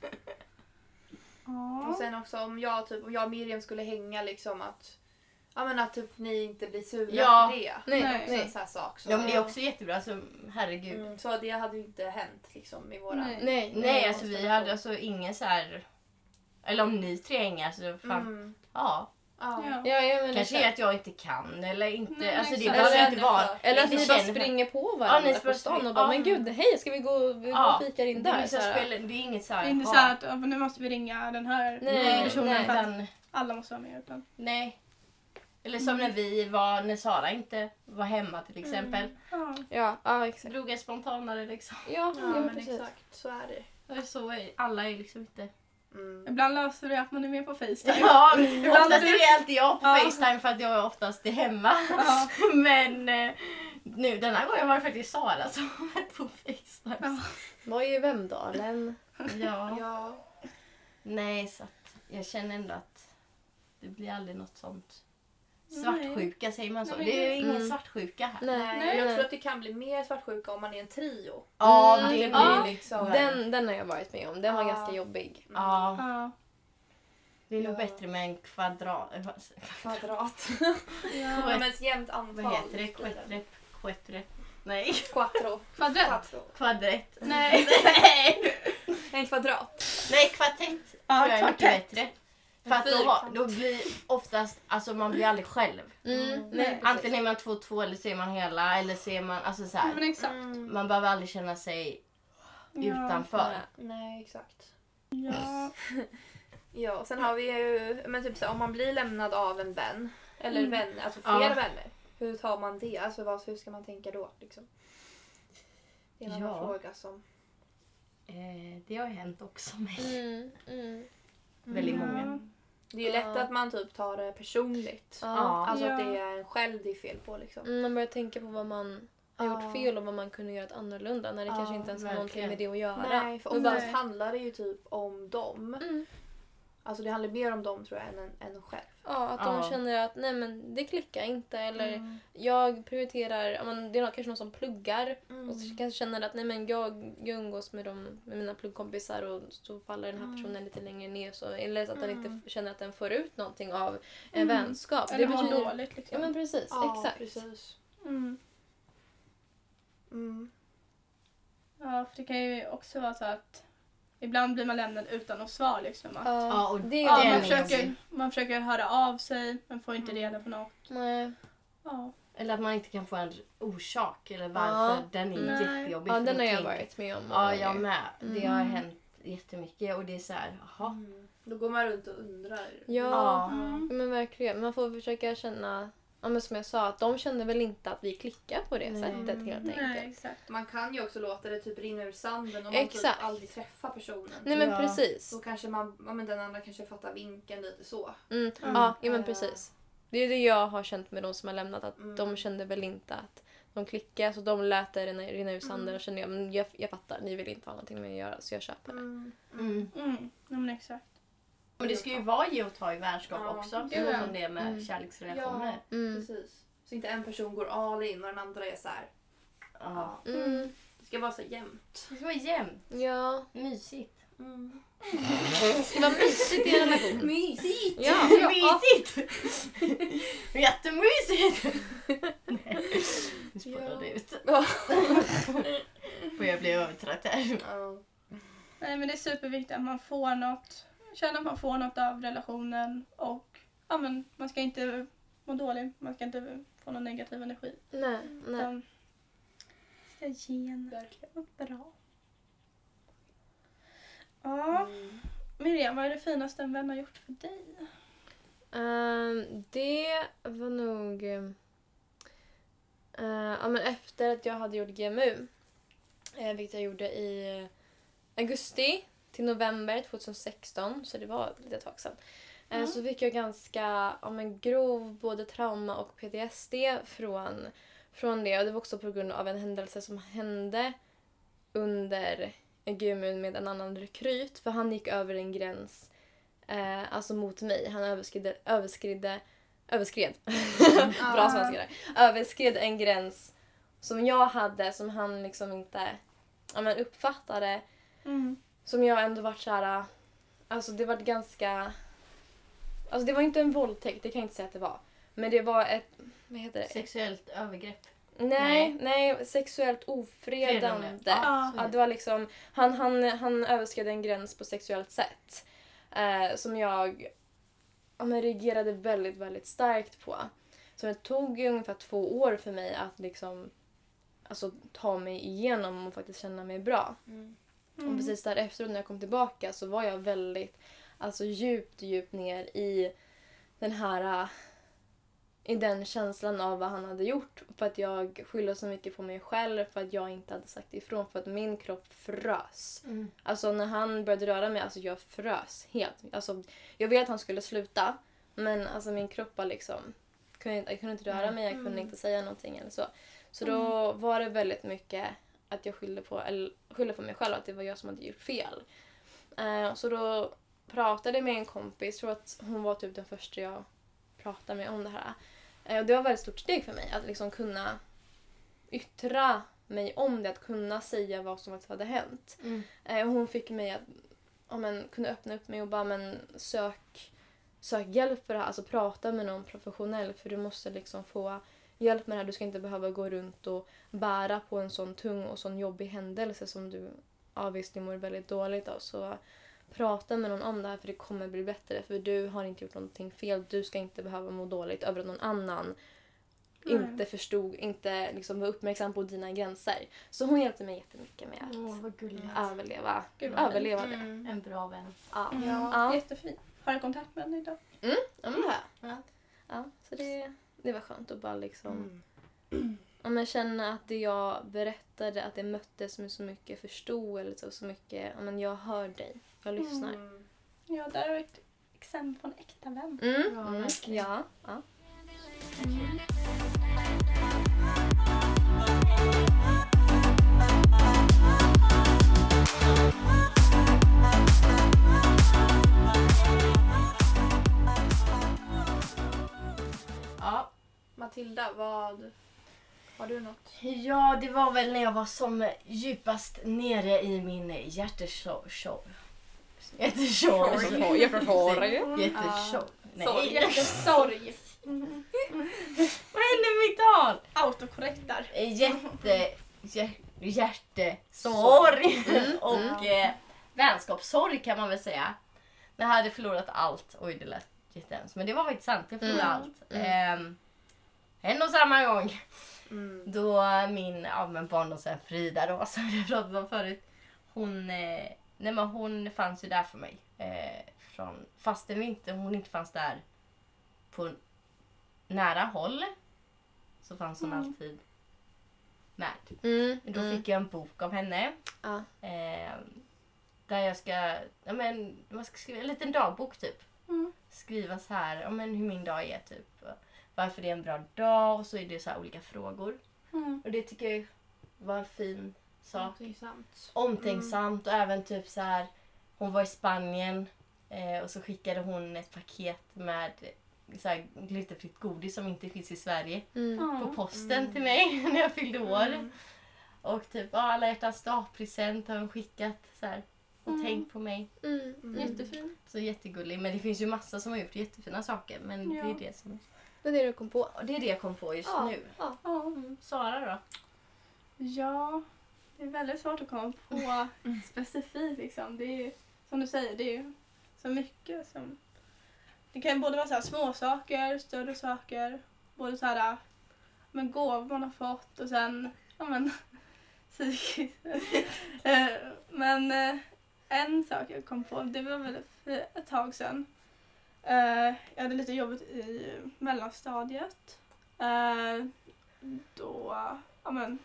Speaker 2: Och
Speaker 4: Ja.
Speaker 2: sen också om jag, typ, om jag och Miriam skulle hänga liksom att, ja, men att typ, ni inte blir sura
Speaker 3: Ja.
Speaker 2: för det.
Speaker 1: Nej,
Speaker 4: Nej.
Speaker 2: Så,
Speaker 1: nej.
Speaker 2: så här sak, så.
Speaker 3: Ja men det är också jättebra, alltså herregud.
Speaker 2: Mm, så det hade ju inte hänt liksom i våra...
Speaker 4: Nej.
Speaker 1: Nej,
Speaker 3: Nej alltså vi hade alltså ingen så här... Eller om ni tre hänger så fan,
Speaker 2: Mm.
Speaker 3: ja.
Speaker 2: Ja.
Speaker 4: Ja.
Speaker 1: Ja, ja, men
Speaker 3: Kanske är att jag inte kan eller inte,
Speaker 4: Nej, men
Speaker 3: alltså det
Speaker 4: exakt.
Speaker 3: behöver
Speaker 2: Eller
Speaker 3: inte
Speaker 2: att-
Speaker 3: vara...
Speaker 1: Eller att
Speaker 3: vi
Speaker 1: ni bara
Speaker 3: känner-
Speaker 1: springer på
Speaker 3: Ja, ni
Speaker 1: varandra
Speaker 3: bara
Speaker 1: på stan
Speaker 3: springer-
Speaker 1: och bara
Speaker 3: ja.
Speaker 1: men gud, hej ska vi gå och, vi
Speaker 3: Ja.
Speaker 1: går och fikar in
Speaker 3: Det är,
Speaker 1: där?
Speaker 3: liksom
Speaker 1: Så här.
Speaker 3: spel, det är inget så
Speaker 4: Det
Speaker 3: här...
Speaker 4: är inte
Speaker 3: ja.
Speaker 4: så här att "Ja, men nu måste vi ringa den här
Speaker 1: Nej,
Speaker 3: Nej,
Speaker 4: personen för att
Speaker 3: utan,
Speaker 4: alla måste vara med. Utan,
Speaker 3: nej. Eller som när vi var, när Sara inte var hemma till exempel.
Speaker 4: ja.
Speaker 1: Ja, ja exakt.
Speaker 3: Drog en spontanare liksom.
Speaker 1: Ja,
Speaker 2: Ja,
Speaker 1: ja,
Speaker 2: men
Speaker 1: precis.
Speaker 2: exakt. Så är det.
Speaker 3: Det är Så är- alla är liksom inte...
Speaker 2: Mm.
Speaker 4: Ibland löser det att man är med på Facetime.
Speaker 3: Ja,
Speaker 4: Ibland
Speaker 3: oftast
Speaker 4: är
Speaker 3: är det alltid jag på
Speaker 4: Ja.
Speaker 3: Facetime för att jag är oftast är hemma.
Speaker 4: Ja.
Speaker 3: Men eh, nu den här gången var det faktiskt Sara som var på Facetime.
Speaker 1: Var i Vemdalen.
Speaker 3: Ja.
Speaker 2: Ja.
Speaker 3: Nej, så att jag känner ändå att det blir aldrig något sånt. Svartsjuka säger man så.
Speaker 4: Nej, men
Speaker 3: det är
Speaker 4: gud.
Speaker 3: ingen
Speaker 1: Mm.
Speaker 3: svartsjuka här.
Speaker 1: Nej.
Speaker 2: Nej, jag tror att det kan bli mer svartsjuka om man är en trio.
Speaker 3: Ja,
Speaker 1: Mm.
Speaker 3: det blir
Speaker 1: Ja.
Speaker 3: liksom...
Speaker 1: Den, den har jag varit med om. Den var
Speaker 2: Ja.
Speaker 1: ganska jobbig.
Speaker 3: Ja,
Speaker 4: Ja.
Speaker 3: det är nog
Speaker 2: Ja.
Speaker 3: bättre med en kvadrat... eh,
Speaker 2: Kvadrat.
Speaker 4: Ja.
Speaker 2: Ja, men ett jämnt antal.
Speaker 3: Vad heter det? Quettrep? Quettrep? Nej,
Speaker 2: Quattro.
Speaker 4: Kvadrat.
Speaker 2: Quattro.
Speaker 3: kvadrett.
Speaker 4: Nej.
Speaker 3: Nej,
Speaker 2: En kvadrat.
Speaker 3: Nej kvartett
Speaker 4: Ja,
Speaker 3: tror jag är mycket
Speaker 4: kvartett.
Speaker 3: bättre. För att då, har-
Speaker 2: fyrkant.
Speaker 3: då blir oftast, alltså man blir aldrig själv.
Speaker 1: Mm.
Speaker 4: Nej.
Speaker 3: Antingen är man två och två eller så är man hela eller så är man, alltså så
Speaker 4: Ja, men
Speaker 3: här.
Speaker 4: exakt.
Speaker 2: Mm.
Speaker 3: Man behöver aldrig känna sig
Speaker 4: Ja.
Speaker 3: utanför.
Speaker 1: Nej.
Speaker 2: Nej, exakt.
Speaker 4: Ja.
Speaker 2: Ja, och sen har vi ju, men typ så här, om man blir lämnad av en vän, eller
Speaker 4: Mm.
Speaker 2: vänner, alltså
Speaker 3: Ja.
Speaker 2: flera vänner. Hur tar man det? Alltså vad, hur ska man tänka då? Liksom? Det är en annan
Speaker 3: Ja.
Speaker 2: fråga som
Speaker 3: Eh, det har ju hänt också mig.
Speaker 1: Mm, mm.
Speaker 3: Väldigt många.
Speaker 4: Ja.
Speaker 2: Det är ju lätt
Speaker 1: Ja.
Speaker 2: att man typ tar det personligt.
Speaker 1: Ja.
Speaker 3: Ja.
Speaker 2: Alltså att
Speaker 4: Ja.
Speaker 2: det är en själv det är fel på liksom.
Speaker 1: Mm, Man börjar tänka på vad man har
Speaker 2: Ja.
Speaker 1: gjort fel och vad man kunde göra annorlunda när det
Speaker 2: Ja,
Speaker 1: kanske inte ens har någonting
Speaker 3: verkligen.
Speaker 1: med det att göra.
Speaker 2: Nej, för
Speaker 1: Och
Speaker 2: oftast
Speaker 1: bara-
Speaker 2: handlar det ju typ om dem.
Speaker 1: Mm.
Speaker 2: Alltså det handlar mer om dem tror jag än en, än en själv.
Speaker 1: Ja, att
Speaker 3: Ja.
Speaker 1: de känner att nej men det klickar inte eller
Speaker 2: Mm.
Speaker 1: jag prioriterar, ja, men det är någon- kanske någon som pluggar och
Speaker 2: Mm. Alltså,
Speaker 1: så kanske känner att nej men jag, jag umgås med, dem, med mina pluggkompisar och så faller den här personen lite längre ner så, eller så att den
Speaker 2: Mm.
Speaker 1: inte känner att den får ut någonting av en
Speaker 4: Mm.
Speaker 1: vänskap.
Speaker 4: Eller mår
Speaker 1: betyder-
Speaker 4: dåligt liksom.
Speaker 1: Ja men precis,
Speaker 2: Ja,
Speaker 1: exakt.
Speaker 2: Precis.
Speaker 4: Mm.
Speaker 2: Mm.
Speaker 4: Ja, för det kan ju också vara så att ibland blir man lämnad utan något svar. Liksom. Att,
Speaker 1: Ja,
Speaker 3: Ja, och
Speaker 1: det är
Speaker 4: ja,
Speaker 3: den
Speaker 4: man,
Speaker 3: är
Speaker 4: försöker,
Speaker 3: jobbig.
Speaker 4: man försöker höra av sig men får inte
Speaker 2: Mm.
Speaker 4: reda på något.
Speaker 1: Nej.
Speaker 4: Ja.
Speaker 3: Eller att man inte kan få en orsak eller varför.
Speaker 1: Ja.
Speaker 3: Den är
Speaker 4: Nej.
Speaker 3: jättejobbig.
Speaker 1: Ja,
Speaker 3: för
Speaker 1: den
Speaker 3: då
Speaker 1: har jag
Speaker 3: tänker-
Speaker 1: varit med om.
Speaker 3: Ja, jag med. Det har
Speaker 4: Mm.
Speaker 3: hänt jättemycket och det är så här, jaha.
Speaker 2: Mm. Då går man runt och undrar.
Speaker 1: Ja,
Speaker 3: Ja.
Speaker 4: Mm.
Speaker 1: Ja, men verkligen. Man får försöka känna, ja, men som jag sa, att de känner väl inte att vi klickar på det
Speaker 3: Nej.
Speaker 1: sättet helt enkelt.
Speaker 4: Nej,
Speaker 1: Nej,
Speaker 4: exakt.
Speaker 2: Man kan ju också låta det typ rinna ur sanden om man
Speaker 1: Exakt.
Speaker 2: typ aldrig träffar personen.
Speaker 1: men
Speaker 3: Ja.
Speaker 1: precis.
Speaker 2: Då kanske man, ja, men den andra kanske fattar vinkeln lite så.
Speaker 1: Mm.
Speaker 4: Mm.
Speaker 1: Ja, ja, men
Speaker 2: Ja.
Speaker 1: precis. Det är det jag har känt med de som har lämnat, att
Speaker 2: Mm.
Speaker 1: de kände väl inte att de klickar, så de lät det rinna- rinna ur sanden och kände jag, men jag, jag fattar, ni vill inte ha någonting med att göra så jag köper det.
Speaker 3: Mm.
Speaker 4: Mm. Ja, men exakt.
Speaker 3: Och det ska ju vara ge och ta i vänskap
Speaker 2: Ja.
Speaker 3: också.
Speaker 4: Ja.
Speaker 3: Så som det är med
Speaker 1: Mm.
Speaker 3: kärleksrelationer.
Speaker 1: Mm.
Speaker 2: Precis. Så inte en person går all in och den andra är så här.
Speaker 3: Ja.
Speaker 1: Mm.
Speaker 2: Det ska vara så jämnt.
Speaker 3: Det ska vara jämnt.
Speaker 1: Ja,
Speaker 3: Mysigt.
Speaker 1: det ska vara mysigt i en relation.
Speaker 2: Mysigt!
Speaker 1: Ja.
Speaker 3: Mysigt! Jättemysigt! Nej, Nu spårade det ut. Och jag blev övertrött här.
Speaker 2: Ja.
Speaker 4: Nej, men det är superviktigt att man får något. Känner att man får något av relationen och ja, men man ska inte må dålig. Man ska inte få någon negativ energi.
Speaker 1: Nej, nej.
Speaker 4: Utan ska ge en och bra. Ja,
Speaker 2: Mm.
Speaker 4: Miriam, vad är det finaste en vän har gjort för dig?
Speaker 1: Ehm, det var nog... ehm, eh, ja, men efter att jag hade gjort GMU, eh, vilket jag gjorde i eh, augusti till november 2016, så det var ett litet tag sedan, eh,
Speaker 4: Mm.
Speaker 1: så fick jag ganska ja, men grov både trauma och PTSD från, från det. Och det var också på grund av en händelse som hände under GMU med en annan rekryt, för han gick över en gräns eh, alltså mot mig. Han överskridde, överskridde, överskred, bra svenska där, överskred en gräns som jag hade som han liksom inte ja, men uppfattade. Som jag ändå vart såhär, alltså det vart ganska, alltså det var inte en våldtäkt, det kan jag inte säga att det var. Men det var ett, vad heter det?
Speaker 3: Sexuellt övergrepp.
Speaker 1: Nej, nej, sexuellt ofredande.
Speaker 3: Fredande.
Speaker 4: Ah.
Speaker 3: Ja,
Speaker 1: Ja, det var liksom, han, han, han överskred en gräns på sexuellt sätt eh, som jag ja, men reagerade väldigt, väldigt starkt på. Så det tog ju ungefär två år för mig att liksom, alltså, ta mig igenom och faktiskt känna mig bra. Och precis därefter när jag kom tillbaka så var jag väldigt alltså, djupt, djupt ner i den här äh, i den känslan av vad han hade gjort. För att jag skyller så mycket på mig själv för att jag inte hade sagt ifrån. För att min kropp frös.
Speaker 3: Mm.
Speaker 1: Alltså när han började röra mig, alltså jag frös helt. Alltså, jag ville att han skulle sluta men alltså min kropp var liksom... Kunde, inte- jag kunde inte röra mig, jag kunde inte säga någonting eller så. Så då var det väldigt mycket att jag skyllde på, eller, skyllde på mig själv, att det var jag som hade gjort fel. Eh, så då pratade jag med en kompis, tror att hon var typ den första jag pratade med om det här. Eh, och det var ett väldigt stort steg för mig att liksom kunna yttra mig om det, att kunna säga vad som faktiskt hade hänt.
Speaker 3: Mm.
Speaker 1: Eh, och hon fick mig att ja, men, kunna öppna upp mig och bara men, sök, sök hjälp för det här. Alltså prata med någon professionell för du måste liksom få hjälp med det här. Du ska inte behöva gå runt och bära på en sån tung och sån jobbig händelse som du ja, visst, du mår väldigt dåligt av. Så prata med någon om det här för det kommer bli bättre. För du har inte gjort någonting fel. Du ska inte behöva må dåligt över att någon annan
Speaker 4: Nej.
Speaker 1: inte förstod, inte liksom var uppmärksam på dina gränser. Så hon hjälpte mig jättemycket med att
Speaker 3: Åh, vad gulligt.
Speaker 1: överleva,
Speaker 4: Gud, vad
Speaker 1: överleva det.
Speaker 2: Mm.
Speaker 3: En bra vän.
Speaker 1: Ja.
Speaker 4: Mm.
Speaker 1: Ja.
Speaker 4: Jättefint. Har du kontakt med henne idag?
Speaker 1: Ja, men det har jag.
Speaker 3: Ja.
Speaker 1: Ja, så det, det var skönt att bara liksom Ja, men känna att det jag berättade, att det möttes med så mycket förståelse och så mycket, ja, men jag hör dig, jag lyssnar.
Speaker 2: Mm.
Speaker 4: Ja, där har vi ett exempel på en äkta vän.
Speaker 1: Mm.
Speaker 3: Ja,
Speaker 1: Mm.
Speaker 3: verkligen.
Speaker 1: Ja. ja.
Speaker 3: Ja.
Speaker 2: Matilda, vad... Har du något?
Speaker 3: ja, det var väl när jag var som djupast nere i min hjärteshow. Hjärteshow.
Speaker 1: Jag förstår ju.
Speaker 3: Jätteshow.
Speaker 2: Sorg.
Speaker 3: Nej,
Speaker 4: Jättesorg.
Speaker 3: vad hände med mitt tal?
Speaker 4: Autokorrekt där.
Speaker 3: jätte, hjär- hjärtesorg och eh, vänskapssorg kan man väl säga. När jag hade förlorat allt. Oj, det lät jättehemskt. Men det var faktiskt sant. Jag förlorade
Speaker 1: Mm.
Speaker 3: allt. Ehm, en och samma gång.
Speaker 2: Mm.
Speaker 3: Då min ja, men barndomsvän Frida då, som jag pratade om förut. Hon, eh, nej, men hon fanns ju där för mig. Eh, från, fastän vi inte, hon inte fanns där på nära håll så fanns hon alltid med.
Speaker 1: Mm.
Speaker 3: Då
Speaker 1: Mm.
Speaker 3: fick jag en bok av henne.
Speaker 1: Ja.
Speaker 3: Eh, där jag ska, ja, men, man ska skriva en liten dagbok typ.
Speaker 4: Mm.
Speaker 3: Skriva så här, ja, men, hur min dag är typ. och Varför det är en bra dag och så är det så här olika frågor.
Speaker 4: Mm.
Speaker 3: Och det tycker jag var en fin sak.
Speaker 4: Omtänksamt.
Speaker 3: Omtänksamt och även typ så här, hon var i Spanien eh, och så skickade hon ett paket med så här, gluttenfritt godis som inte finns i Sverige
Speaker 1: Mm.
Speaker 3: på
Speaker 4: Ja.
Speaker 3: posten till mig när jag fyllde år. Och typ ja, alla hjärtans dag-present har hon skickat så här, och
Speaker 4: Mm.
Speaker 3: tänkt på mig.
Speaker 1: Mm.
Speaker 4: Jättefin.
Speaker 3: Så jättegullig. Men det finns ju massa som har gjort jättefina saker. Men
Speaker 4: Ja.
Speaker 3: det, är det, som,
Speaker 1: Det är det du kom på.
Speaker 3: och det är det jag kom på just
Speaker 1: Ja.
Speaker 3: nu.
Speaker 1: Ja.
Speaker 4: Ja.
Speaker 3: Sara då?
Speaker 4: Ja, det är väldigt svårt att komma på specifikt. Liksom. Det är ju, som du säger, det är ju så mycket som... Det kan ju både vara så här små saker, större saker, både så här men gåvor man har fått och sen ja men psykiskt. Eh, men eh, en sak jag kom på, det var väl för ett tag sedan. Eh, jag hade lite jobbigt i mellanstadiet. Eh, då, ja men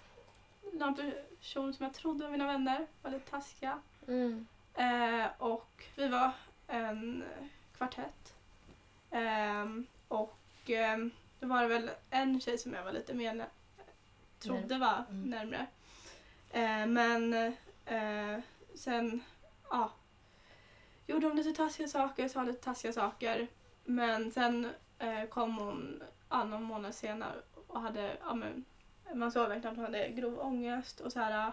Speaker 4: någon person som jag trodde var mina vänner var lite taskiga.
Speaker 1: Mm.
Speaker 4: Eh, och vi var en kvartett. Ehm, och ehm, då var det väl en tjej som jag var lite mer nä- trodde var
Speaker 3: Mm.
Speaker 4: närmre. Eh, men eh, sen ja, gjorde hon lite taskiga saker, sa lite taskiga saker. Men sen eh, kom hon ja, någon månad senare och hade, ja, men, man såg verkligen att hon hade grov ångest och så här,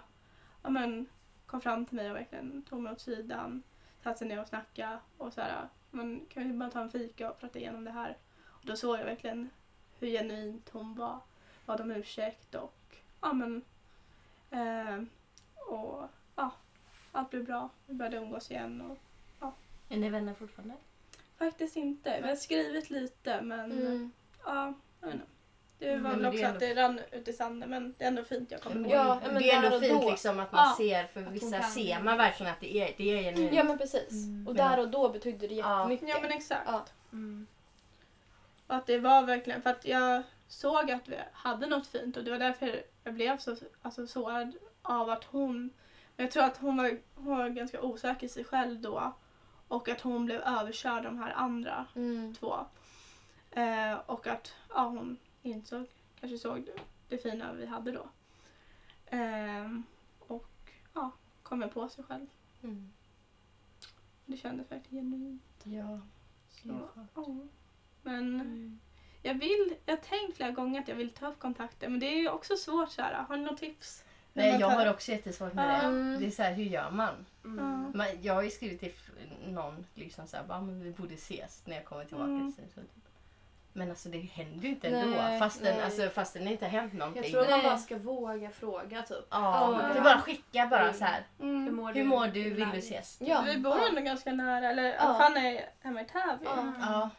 Speaker 4: ja, men, kom fram till mig och verkligen tog mig åt sidan. Satte sig ner och snackade och så här, man kan ju bara ta en fika och prata igenom det här. Och då såg jag verkligen hur genuint hon var. Bad om ursäkt och ja men eh, och ja, allt blev bra. Vi började umgås igen och
Speaker 3: Är ni vänner fortfarande?
Speaker 4: faktiskt inte. Vi har skrivit lite men
Speaker 1: Mm.
Speaker 4: ja, jag vet inte. Det
Speaker 3: Mm,
Speaker 4: var väl
Speaker 3: men det
Speaker 4: också
Speaker 3: är
Speaker 4: att det rann ut i sanden men det är ändå fint jag kommer ihåg.
Speaker 1: Ja, men
Speaker 3: det är
Speaker 1: där
Speaker 3: ändå
Speaker 1: och
Speaker 3: fint
Speaker 1: då.
Speaker 3: liksom att man
Speaker 4: Ja.
Speaker 3: ser, för
Speaker 4: hon
Speaker 3: vissa
Speaker 4: kan-
Speaker 3: ser man verkligen att det är, det är genuint.
Speaker 1: Ja men precis.
Speaker 2: Mm.
Speaker 1: Och där och då betydde det
Speaker 3: Ja.
Speaker 1: jättemycket.
Speaker 4: Ja men exakt.
Speaker 1: Ja.
Speaker 2: Mm.
Speaker 4: Och att det var verkligen, för att jag såg att vi hade något fint och det var därför jag blev så alltså, sårad av att hon, men jag tror att hon var, hon var ganska osäker i sig själv då och att hon blev överkörd av de här andra
Speaker 1: Mm.
Speaker 4: två. Eh, och att ja, hon insåg, kanske såg det, det fina vi hade då. Ehm, och ja, kom på sig själv.
Speaker 3: Mm.
Speaker 4: Det kändes verkligen genuint.
Speaker 3: Ja.
Speaker 4: Så, ja. Men Jag vill, jag har tänkt flera gånger att jag vill ta upp kontakter men det är ju också svårt så här. Har ni något tips?
Speaker 3: Nej,
Speaker 4: Men
Speaker 3: jag
Speaker 4: man tar-
Speaker 3: har också jättesvårt med det.
Speaker 1: Mm.
Speaker 3: Det är så här, hur gör man?
Speaker 2: Mm.
Speaker 4: Ja.
Speaker 3: man jag har ju skrivit till någon liksom så här, bara, men vi borde ses när jag kommer tillbaka.
Speaker 4: Mm.
Speaker 3: Så, så, typ. Men alltså det händer ju inte ändå
Speaker 1: Nej,
Speaker 3: fastän,
Speaker 1: nej.
Speaker 3: alltså, fastän det inte har hänt någonting.
Speaker 5: Jag tror att man
Speaker 1: Nej.
Speaker 5: bara ska våga fråga typ.
Speaker 3: Ja,
Speaker 1: Ja.
Speaker 3: det är bara att skicka bara så här.
Speaker 4: Mm.
Speaker 2: mår
Speaker 3: Hur mår du? Vill du ses?
Speaker 1: Ja.
Speaker 4: Vi bor ändå ganska nära, eller
Speaker 1: Ja.
Speaker 4: fan är hemma i Täby.
Speaker 1: Ja.
Speaker 3: Ja.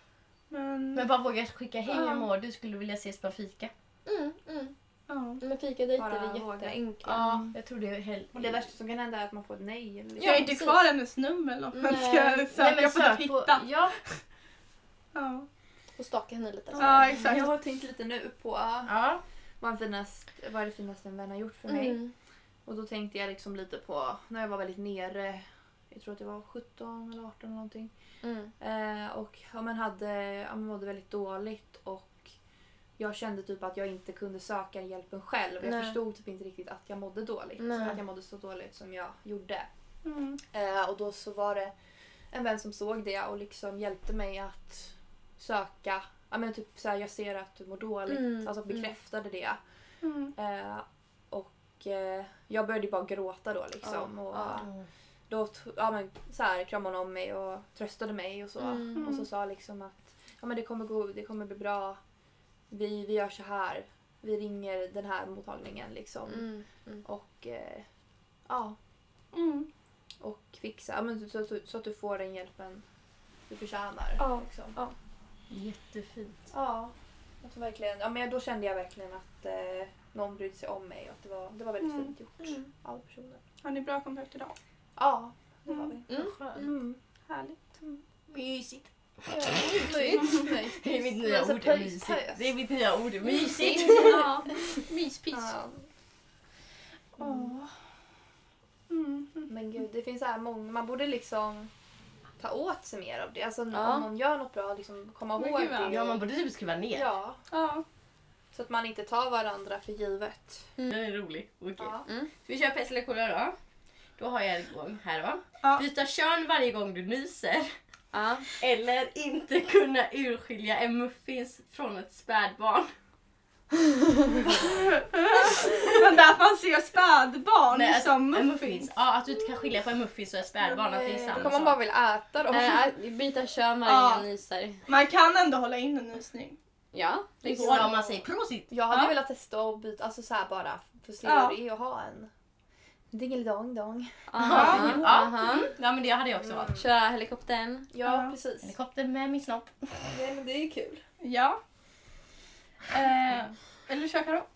Speaker 4: Men,
Speaker 3: Men bara våga skicka hej, hur
Speaker 4: Ja.
Speaker 3: mår du? Skulle du vilja ses på fika?
Speaker 1: Mm. Mm.
Speaker 4: ja.
Speaker 1: Men fikadejter
Speaker 2: Bara
Speaker 1: är
Speaker 2: våga.
Speaker 1: jätteenkelt.
Speaker 3: Jag tror det är hell-
Speaker 2: Och det värsta som kan hända är att man får ett nej. Eller
Speaker 4: Jag har
Speaker 1: Ja,
Speaker 4: ju inte
Speaker 1: precis.
Speaker 4: kvar hennes nummer eller något. man
Speaker 1: Nej.
Speaker 4: ska
Speaker 3: Nej,
Speaker 4: söka
Speaker 3: men
Speaker 4: på att
Speaker 3: sök på...
Speaker 4: hitta.
Speaker 3: Ja.
Speaker 4: Ja.
Speaker 1: Och staka henne lite.
Speaker 4: ja, exakt.
Speaker 2: Jag har tänkt lite nu på ah,
Speaker 3: ja.
Speaker 2: vad, är finast, vad är det finaste en vän har gjort för mig?
Speaker 1: Mm.
Speaker 2: Och då tänkte jag liksom lite på när jag var väldigt nere. Jag tror att jag var 17 eller 18 eller någonting.
Speaker 1: Mm.
Speaker 2: Eh, och ja, men hade, ja, men mådde väldigt dåligt och jag kände typ att jag inte kunde söka hjälpen själv. Jag
Speaker 1: Nej.
Speaker 2: förstod typ inte riktigt att jag mådde dåligt.
Speaker 1: Nej.
Speaker 2: Att jag mådde så dåligt som jag gjorde.
Speaker 4: Mm.
Speaker 2: Eh, och då så var det en vän som såg det och liksom hjälpte mig att söka. Ja, men typ så här, jag ser att du mår dåligt.
Speaker 1: Mm,
Speaker 2: Alltså
Speaker 1: mm.
Speaker 2: bekräftade det.
Speaker 4: Mm.
Speaker 2: Eh, och eh, jag började bara gråta då liksom.
Speaker 1: Ja,
Speaker 2: och,
Speaker 1: ja.
Speaker 2: Då t- ja, men, så här, kramade hon om mig och tröstade mig och så.
Speaker 1: Mm.
Speaker 2: Och så sa liksom att ja, men det, kommer gå, det kommer bli bra. Vi, vi gör så här. Vi ringer den här mottagningen liksom.
Speaker 1: Mm. Mm.
Speaker 2: Och eh, ja,
Speaker 4: Mm.
Speaker 2: och fixa. Ja, men, så, så, så att du får den hjälpen du förtjänar.
Speaker 1: Ja.
Speaker 2: Liksom.
Speaker 1: Ja.
Speaker 3: Jättefint.
Speaker 2: ja. Alltså, verkligen, ja men, då kände jag verkligen att eh, någon brydde sig om mig och att det var, det var väldigt
Speaker 4: Mm.
Speaker 2: fint gjort
Speaker 1: Mm.
Speaker 2: av personen.
Speaker 4: Har ni bra kontakt idag?
Speaker 2: Ja, det har vi.
Speaker 1: Mm.
Speaker 3: Skönt.
Speaker 2: Mm.
Speaker 4: Härligt.
Speaker 3: Mysigt.
Speaker 5: Mysigt.
Speaker 3: Det är mitt nya
Speaker 5: Alltså,
Speaker 3: ord.
Speaker 5: pös,
Speaker 3: Mysigt.
Speaker 5: pös.
Speaker 3: Det är mitt nya ord. Mysigt.
Speaker 5: Ja.
Speaker 4: Myspys.
Speaker 2: Ja.
Speaker 4: Åh. Mm.
Speaker 2: Men gud, det finns så här många. Man borde liksom ta åt sig mer av det. Alltså
Speaker 1: Ja.
Speaker 2: om någon gör något bra, liksom komma
Speaker 4: Men
Speaker 2: ihåg
Speaker 4: gud,
Speaker 2: det.
Speaker 3: Ja, man borde typ skriva ner.
Speaker 2: Ja,
Speaker 4: Ja.
Speaker 2: så att man inte tar varandra för givet.
Speaker 3: Den är rolig. Okej.
Speaker 2: Ja.
Speaker 3: Ska vi köra pest eller kolera då? Då har jag en gång här va.
Speaker 4: Ja.
Speaker 3: Byta kön varje gång du nyser.
Speaker 1: Ja.
Speaker 3: Eller inte kunna urskilja en muffins från ett spädbarn.
Speaker 4: Men där man ser spädbarn
Speaker 3: Nej, alltså, att-
Speaker 4: som
Speaker 3: en
Speaker 4: muffins.
Speaker 3: Ja, att du inte kan skilja på en muffins och ett spädbarn. Att det är
Speaker 2: eh, Då
Speaker 3: samma
Speaker 2: kommer man
Speaker 3: sak.
Speaker 2: bara vilja äta dem.
Speaker 1: Äh, byta kön varje
Speaker 4: Ja.
Speaker 1: gång jag nyser.
Speaker 4: Man kan ändå hålla in en nysning.
Speaker 1: Ja,
Speaker 3: Det
Speaker 1: det går.
Speaker 3: går om man säger prosit.
Speaker 2: Jag hade
Speaker 4: Ja.
Speaker 2: velat testa att byta, alltså så här bara för att se
Speaker 4: Ja.
Speaker 2: hur det är att ha en dingelidong-dong.
Speaker 1: Aha,
Speaker 3: Ja. Mm.
Speaker 1: aha.
Speaker 3: Ja, men det hade jag också valt.
Speaker 1: Köra helikoptern.
Speaker 2: Ja,
Speaker 4: Ja.
Speaker 2: precis.
Speaker 3: Helikopter med min snopp.
Speaker 2: Nej, men det är kul.
Speaker 4: Ja. Eh, vill du köra då?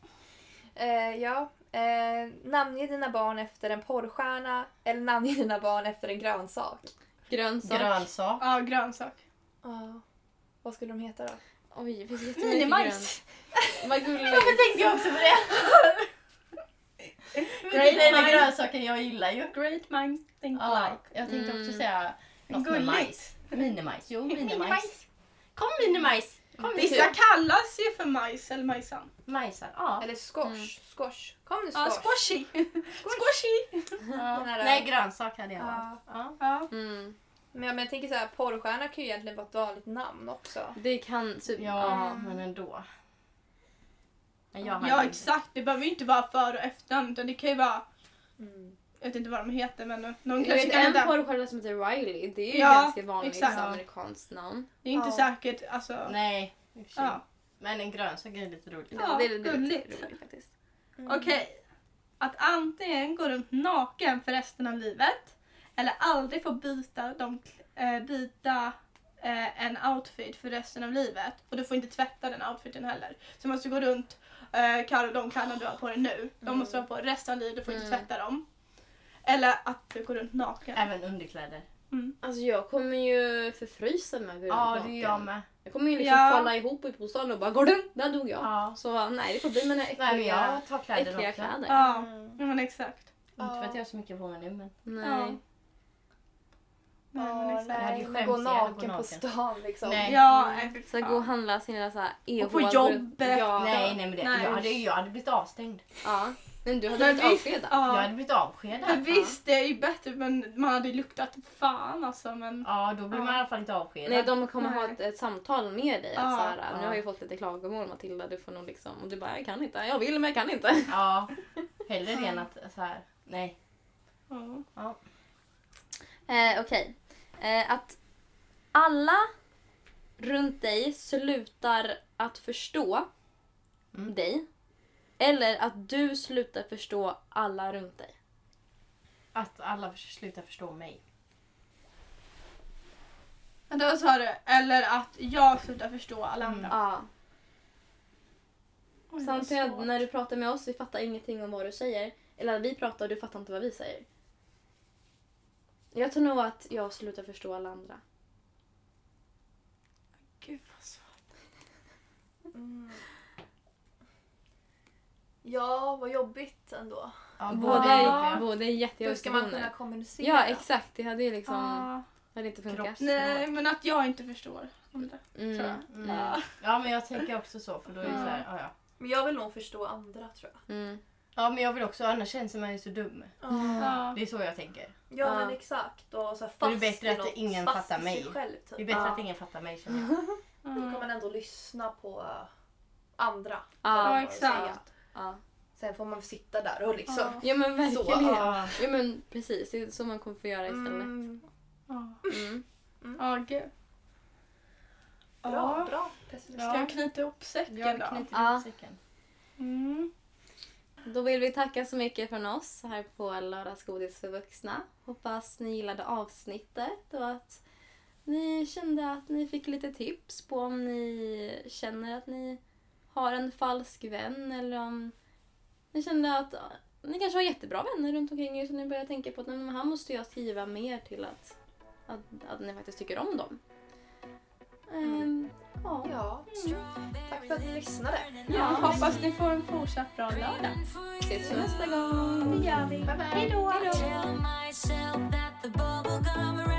Speaker 2: Eh, ja. Eh, namnge dina barn efter en porrstjärna eller namnge dina barn efter en grönsak.
Speaker 1: Grönsak.
Speaker 3: Grönsak.
Speaker 4: Ja, grönsak.
Speaker 2: Ja. Vad skulle de heta då?
Speaker 1: Oj, det finns jättemycket grönt.
Speaker 4: Minimajs.
Speaker 1: Vad gulligt.
Speaker 3: Varför tänkte jag också på det?
Speaker 4: Great
Speaker 3: Det är den
Speaker 4: minds-
Speaker 3: grönsaken jag gillar ju.
Speaker 4: Great minds think
Speaker 3: Ja,
Speaker 4: alike.
Speaker 3: jag tänkte
Speaker 1: Mm.
Speaker 3: också säga något med
Speaker 4: Gulligt.
Speaker 3: majs. Minimajs. Jo, minimajs. Kom minimajs. Kom
Speaker 1: Typ.
Speaker 4: Vissa kallas ju för majs eller majsan.
Speaker 3: Majsan, ja.
Speaker 2: Eller squash.
Speaker 1: Mm.
Speaker 2: Squash. Kom nu
Speaker 4: Ja,
Speaker 2: squash.
Speaker 4: squashy. Squashy.
Speaker 3: ja.
Speaker 2: den här-
Speaker 3: Nej, grönsak hade jag
Speaker 2: Ja.
Speaker 3: valt. Ja.
Speaker 4: Ja.
Speaker 1: Mm.
Speaker 2: men, jag- men jag tänker så här, porrstjärna kan ju egentligen vara ett vanligt namn också.
Speaker 1: Det kan typ...
Speaker 3: ja,
Speaker 2: Mm.
Speaker 3: men ändå. Men jag hade
Speaker 4: ja,
Speaker 3: inte-
Speaker 4: exakt. Det behöver ju inte vara för och efternamn utan det kan ju vara,
Speaker 2: Mm.
Speaker 4: jag vet inte vad de heter men någon
Speaker 1: Jag
Speaker 4: kanske
Speaker 1: vet
Speaker 4: kan
Speaker 1: en
Speaker 4: heta.
Speaker 1: porrstjärna som heter Riley. Det är ju
Speaker 4: Ja,
Speaker 1: ganska vanligt liksom,
Speaker 4: exakt.
Speaker 1: amerikanskt namn.
Speaker 4: Det är inte
Speaker 2: Ja.
Speaker 4: säkert alltså.
Speaker 3: Nej, i och för sig.
Speaker 4: Ja.
Speaker 3: Men en grönsak är lite roligt.
Speaker 4: Ja,
Speaker 1: det är det är
Speaker 4: gulligt.
Speaker 1: lite roligt faktiskt.
Speaker 2: Mm.
Speaker 4: Okej. Att antingen gå runt naken för resten av livet eller aldrig få byta, de, eh, byta eh, en outfit för resten av livet. Och du får inte tvätta den outfiten heller. Så du måste gå runt eh, Karo, de kläderna du har på dig nu. De måste du ha på resten av livet, du får inte
Speaker 1: Mm.
Speaker 4: tvätta dem. Eller att du går runt naken.
Speaker 3: Även underkläder.
Speaker 1: Alltså jag kommer ju förfrysa mig vid
Speaker 3: Ja, det
Speaker 1: naken.
Speaker 3: är jag med.
Speaker 1: Jag kommer ju liksom
Speaker 4: Ja.
Speaker 1: falla ihop i bostaden och bara går du? Där dog jag.
Speaker 3: Ja.
Speaker 1: Så nej, det får bli mina äckliga,
Speaker 3: Nej, men jag tar kläder
Speaker 1: äckliga
Speaker 3: också.
Speaker 1: kläder.
Speaker 4: Ja,
Speaker 2: Mm.
Speaker 4: ja men exakt.
Speaker 3: Inte för att jag har så mycket på mig nu, men
Speaker 1: Nej.
Speaker 4: Nej,
Speaker 2: Åh,
Speaker 4: men exakt.
Speaker 3: Jag hade
Speaker 2: nej,
Speaker 3: ju
Speaker 2: men
Speaker 3: skämts
Speaker 2: gå
Speaker 3: ihjäl att gå
Speaker 2: naken på
Speaker 3: naken.
Speaker 2: stan liksom.
Speaker 3: Nej.
Speaker 4: Ja, nej, fy
Speaker 1: Så
Speaker 4: fan.
Speaker 1: gå och handla sin lilla såhär
Speaker 4: Och på
Speaker 1: EH-vår.
Speaker 4: jobbet.
Speaker 1: Ja.
Speaker 3: Nej, nej men det,
Speaker 4: Nej.
Speaker 3: Jag, hade, jag hade blivit avstängd.
Speaker 1: ja. Men du hade
Speaker 4: Men
Speaker 1: blivit
Speaker 4: vi-
Speaker 1: avskedad.
Speaker 3: Jag
Speaker 4: Ja.
Speaker 3: hade blivit avskedad.
Speaker 4: Men visst, det är ju bättre men man hade ju luktat fan alltså. Men...
Speaker 3: Ja, då blir man
Speaker 4: Ja.
Speaker 3: i alla fall inte avskedad.
Speaker 1: Nej, de kommer
Speaker 4: Nej.
Speaker 1: ha ett, ett samtal med dig. Att
Speaker 4: Ja.
Speaker 1: såhär, nu har jag ju fått lite klagomål Matilda, du får nog liksom... Och du bara, jag kan inte. Jag vill men jag kan inte.
Speaker 3: Ja, hellre det än att så här. Nej.
Speaker 4: Ja.
Speaker 1: Eh, Okej. Eh, att alla runt dig slutar att förstå
Speaker 3: Mm.
Speaker 1: dig. Eller att du slutar förstå alla runt dig.
Speaker 3: Att alla förs- slutar förstå mig.
Speaker 4: Men då sa du, eller att jag slutar förstå alla
Speaker 3: Mm.
Speaker 4: andra.
Speaker 1: Ja.
Speaker 4: Oj, vad
Speaker 1: Samtidigt
Speaker 4: svårt.
Speaker 1: när du pratar med oss, vi fattar ingenting om vad du säger. Eller att vi pratar och du fattar inte vad vi säger. Jag tror nog att jag slutar förstå alla andra.
Speaker 4: Gud vad svårt.
Speaker 2: Mm. Ja, vad jobbigt ändå.
Speaker 3: Ja,
Speaker 1: Båda
Speaker 4: Ja.
Speaker 1: är, båda är jättejobbiga
Speaker 2: Hur ska man
Speaker 1: situationer.
Speaker 2: kunna kommunicera?
Speaker 1: Ja, exakt. Det hade ju liksom...
Speaker 4: Ja.
Speaker 1: hade inte funkat.
Speaker 4: Ah, Nej, men att jag inte förstår. andra,
Speaker 1: Mm.
Speaker 4: Tror jag.
Speaker 1: Mm.
Speaker 3: Mm. Ja men jag tänker också så för då är det
Speaker 4: Ja.
Speaker 3: såhär, ja ja.
Speaker 2: Men jag vill nog förstå andra tror jag.
Speaker 1: Mm.
Speaker 3: Ja men jag vill också, annars känns man ju så dum.
Speaker 4: Ja.
Speaker 3: Det är så jag tänker.
Speaker 2: Ja,
Speaker 1: Ja.
Speaker 2: men exakt. Och så här, fast
Speaker 3: Då är det bättre
Speaker 2: i
Speaker 3: att
Speaker 2: något,
Speaker 3: ingen
Speaker 2: fast
Speaker 3: fattar
Speaker 2: i
Speaker 3: mig.
Speaker 2: Sig själv, typ.
Speaker 3: Det är bättre
Speaker 1: Ja.
Speaker 3: att ingen fattar mig känner jag.
Speaker 2: Då
Speaker 4: Mm.
Speaker 2: kan man ändå lyssna på eh, andra.
Speaker 1: Ja,
Speaker 2: Vad de har att
Speaker 4: exakt.
Speaker 2: säga.
Speaker 1: Ja.
Speaker 2: Sen får man sitta där och liksom...
Speaker 4: Ja.
Speaker 1: ja, men
Speaker 2: Så,
Speaker 1: verkligen.
Speaker 3: ja.
Speaker 1: Ja, men precis. Det är så man kommer få göra istället.
Speaker 2: Mm,
Speaker 4: Ja.
Speaker 1: Mm.
Speaker 4: Ja, gud.
Speaker 2: bra,
Speaker 4: Ja.
Speaker 2: bra. Pessimism.
Speaker 4: Ska jag knyta ihop säcken
Speaker 3: Jag
Speaker 4: då?
Speaker 3: knyter
Speaker 1: Ja.
Speaker 3: ihop säcken.
Speaker 4: Mm.
Speaker 1: Då vill vi tacka så mycket från oss här på Lördagsgodis för vuxna. Hoppas ni gillade avsnittet och att ni kände att ni fick lite tips på om ni känner att ni har en falsk vän eller om ni kände att ja, ni kanske har jättebra vänner runt omkring er så ni börjar tänka på att "Nej, men här måste jag skriva mer till att, att, att ni faktiskt tycker om dem. Ehm, ja.
Speaker 2: Ja.
Speaker 4: Mm.
Speaker 2: Tack för att ni lyssnade.
Speaker 1: Ja,
Speaker 4: Hoppas ni får en fortsatt bra lördag.
Speaker 1: Ses vi nästa gång!
Speaker 4: Det gör vi. Hej då.
Speaker 5: Tell myself that the bubble gum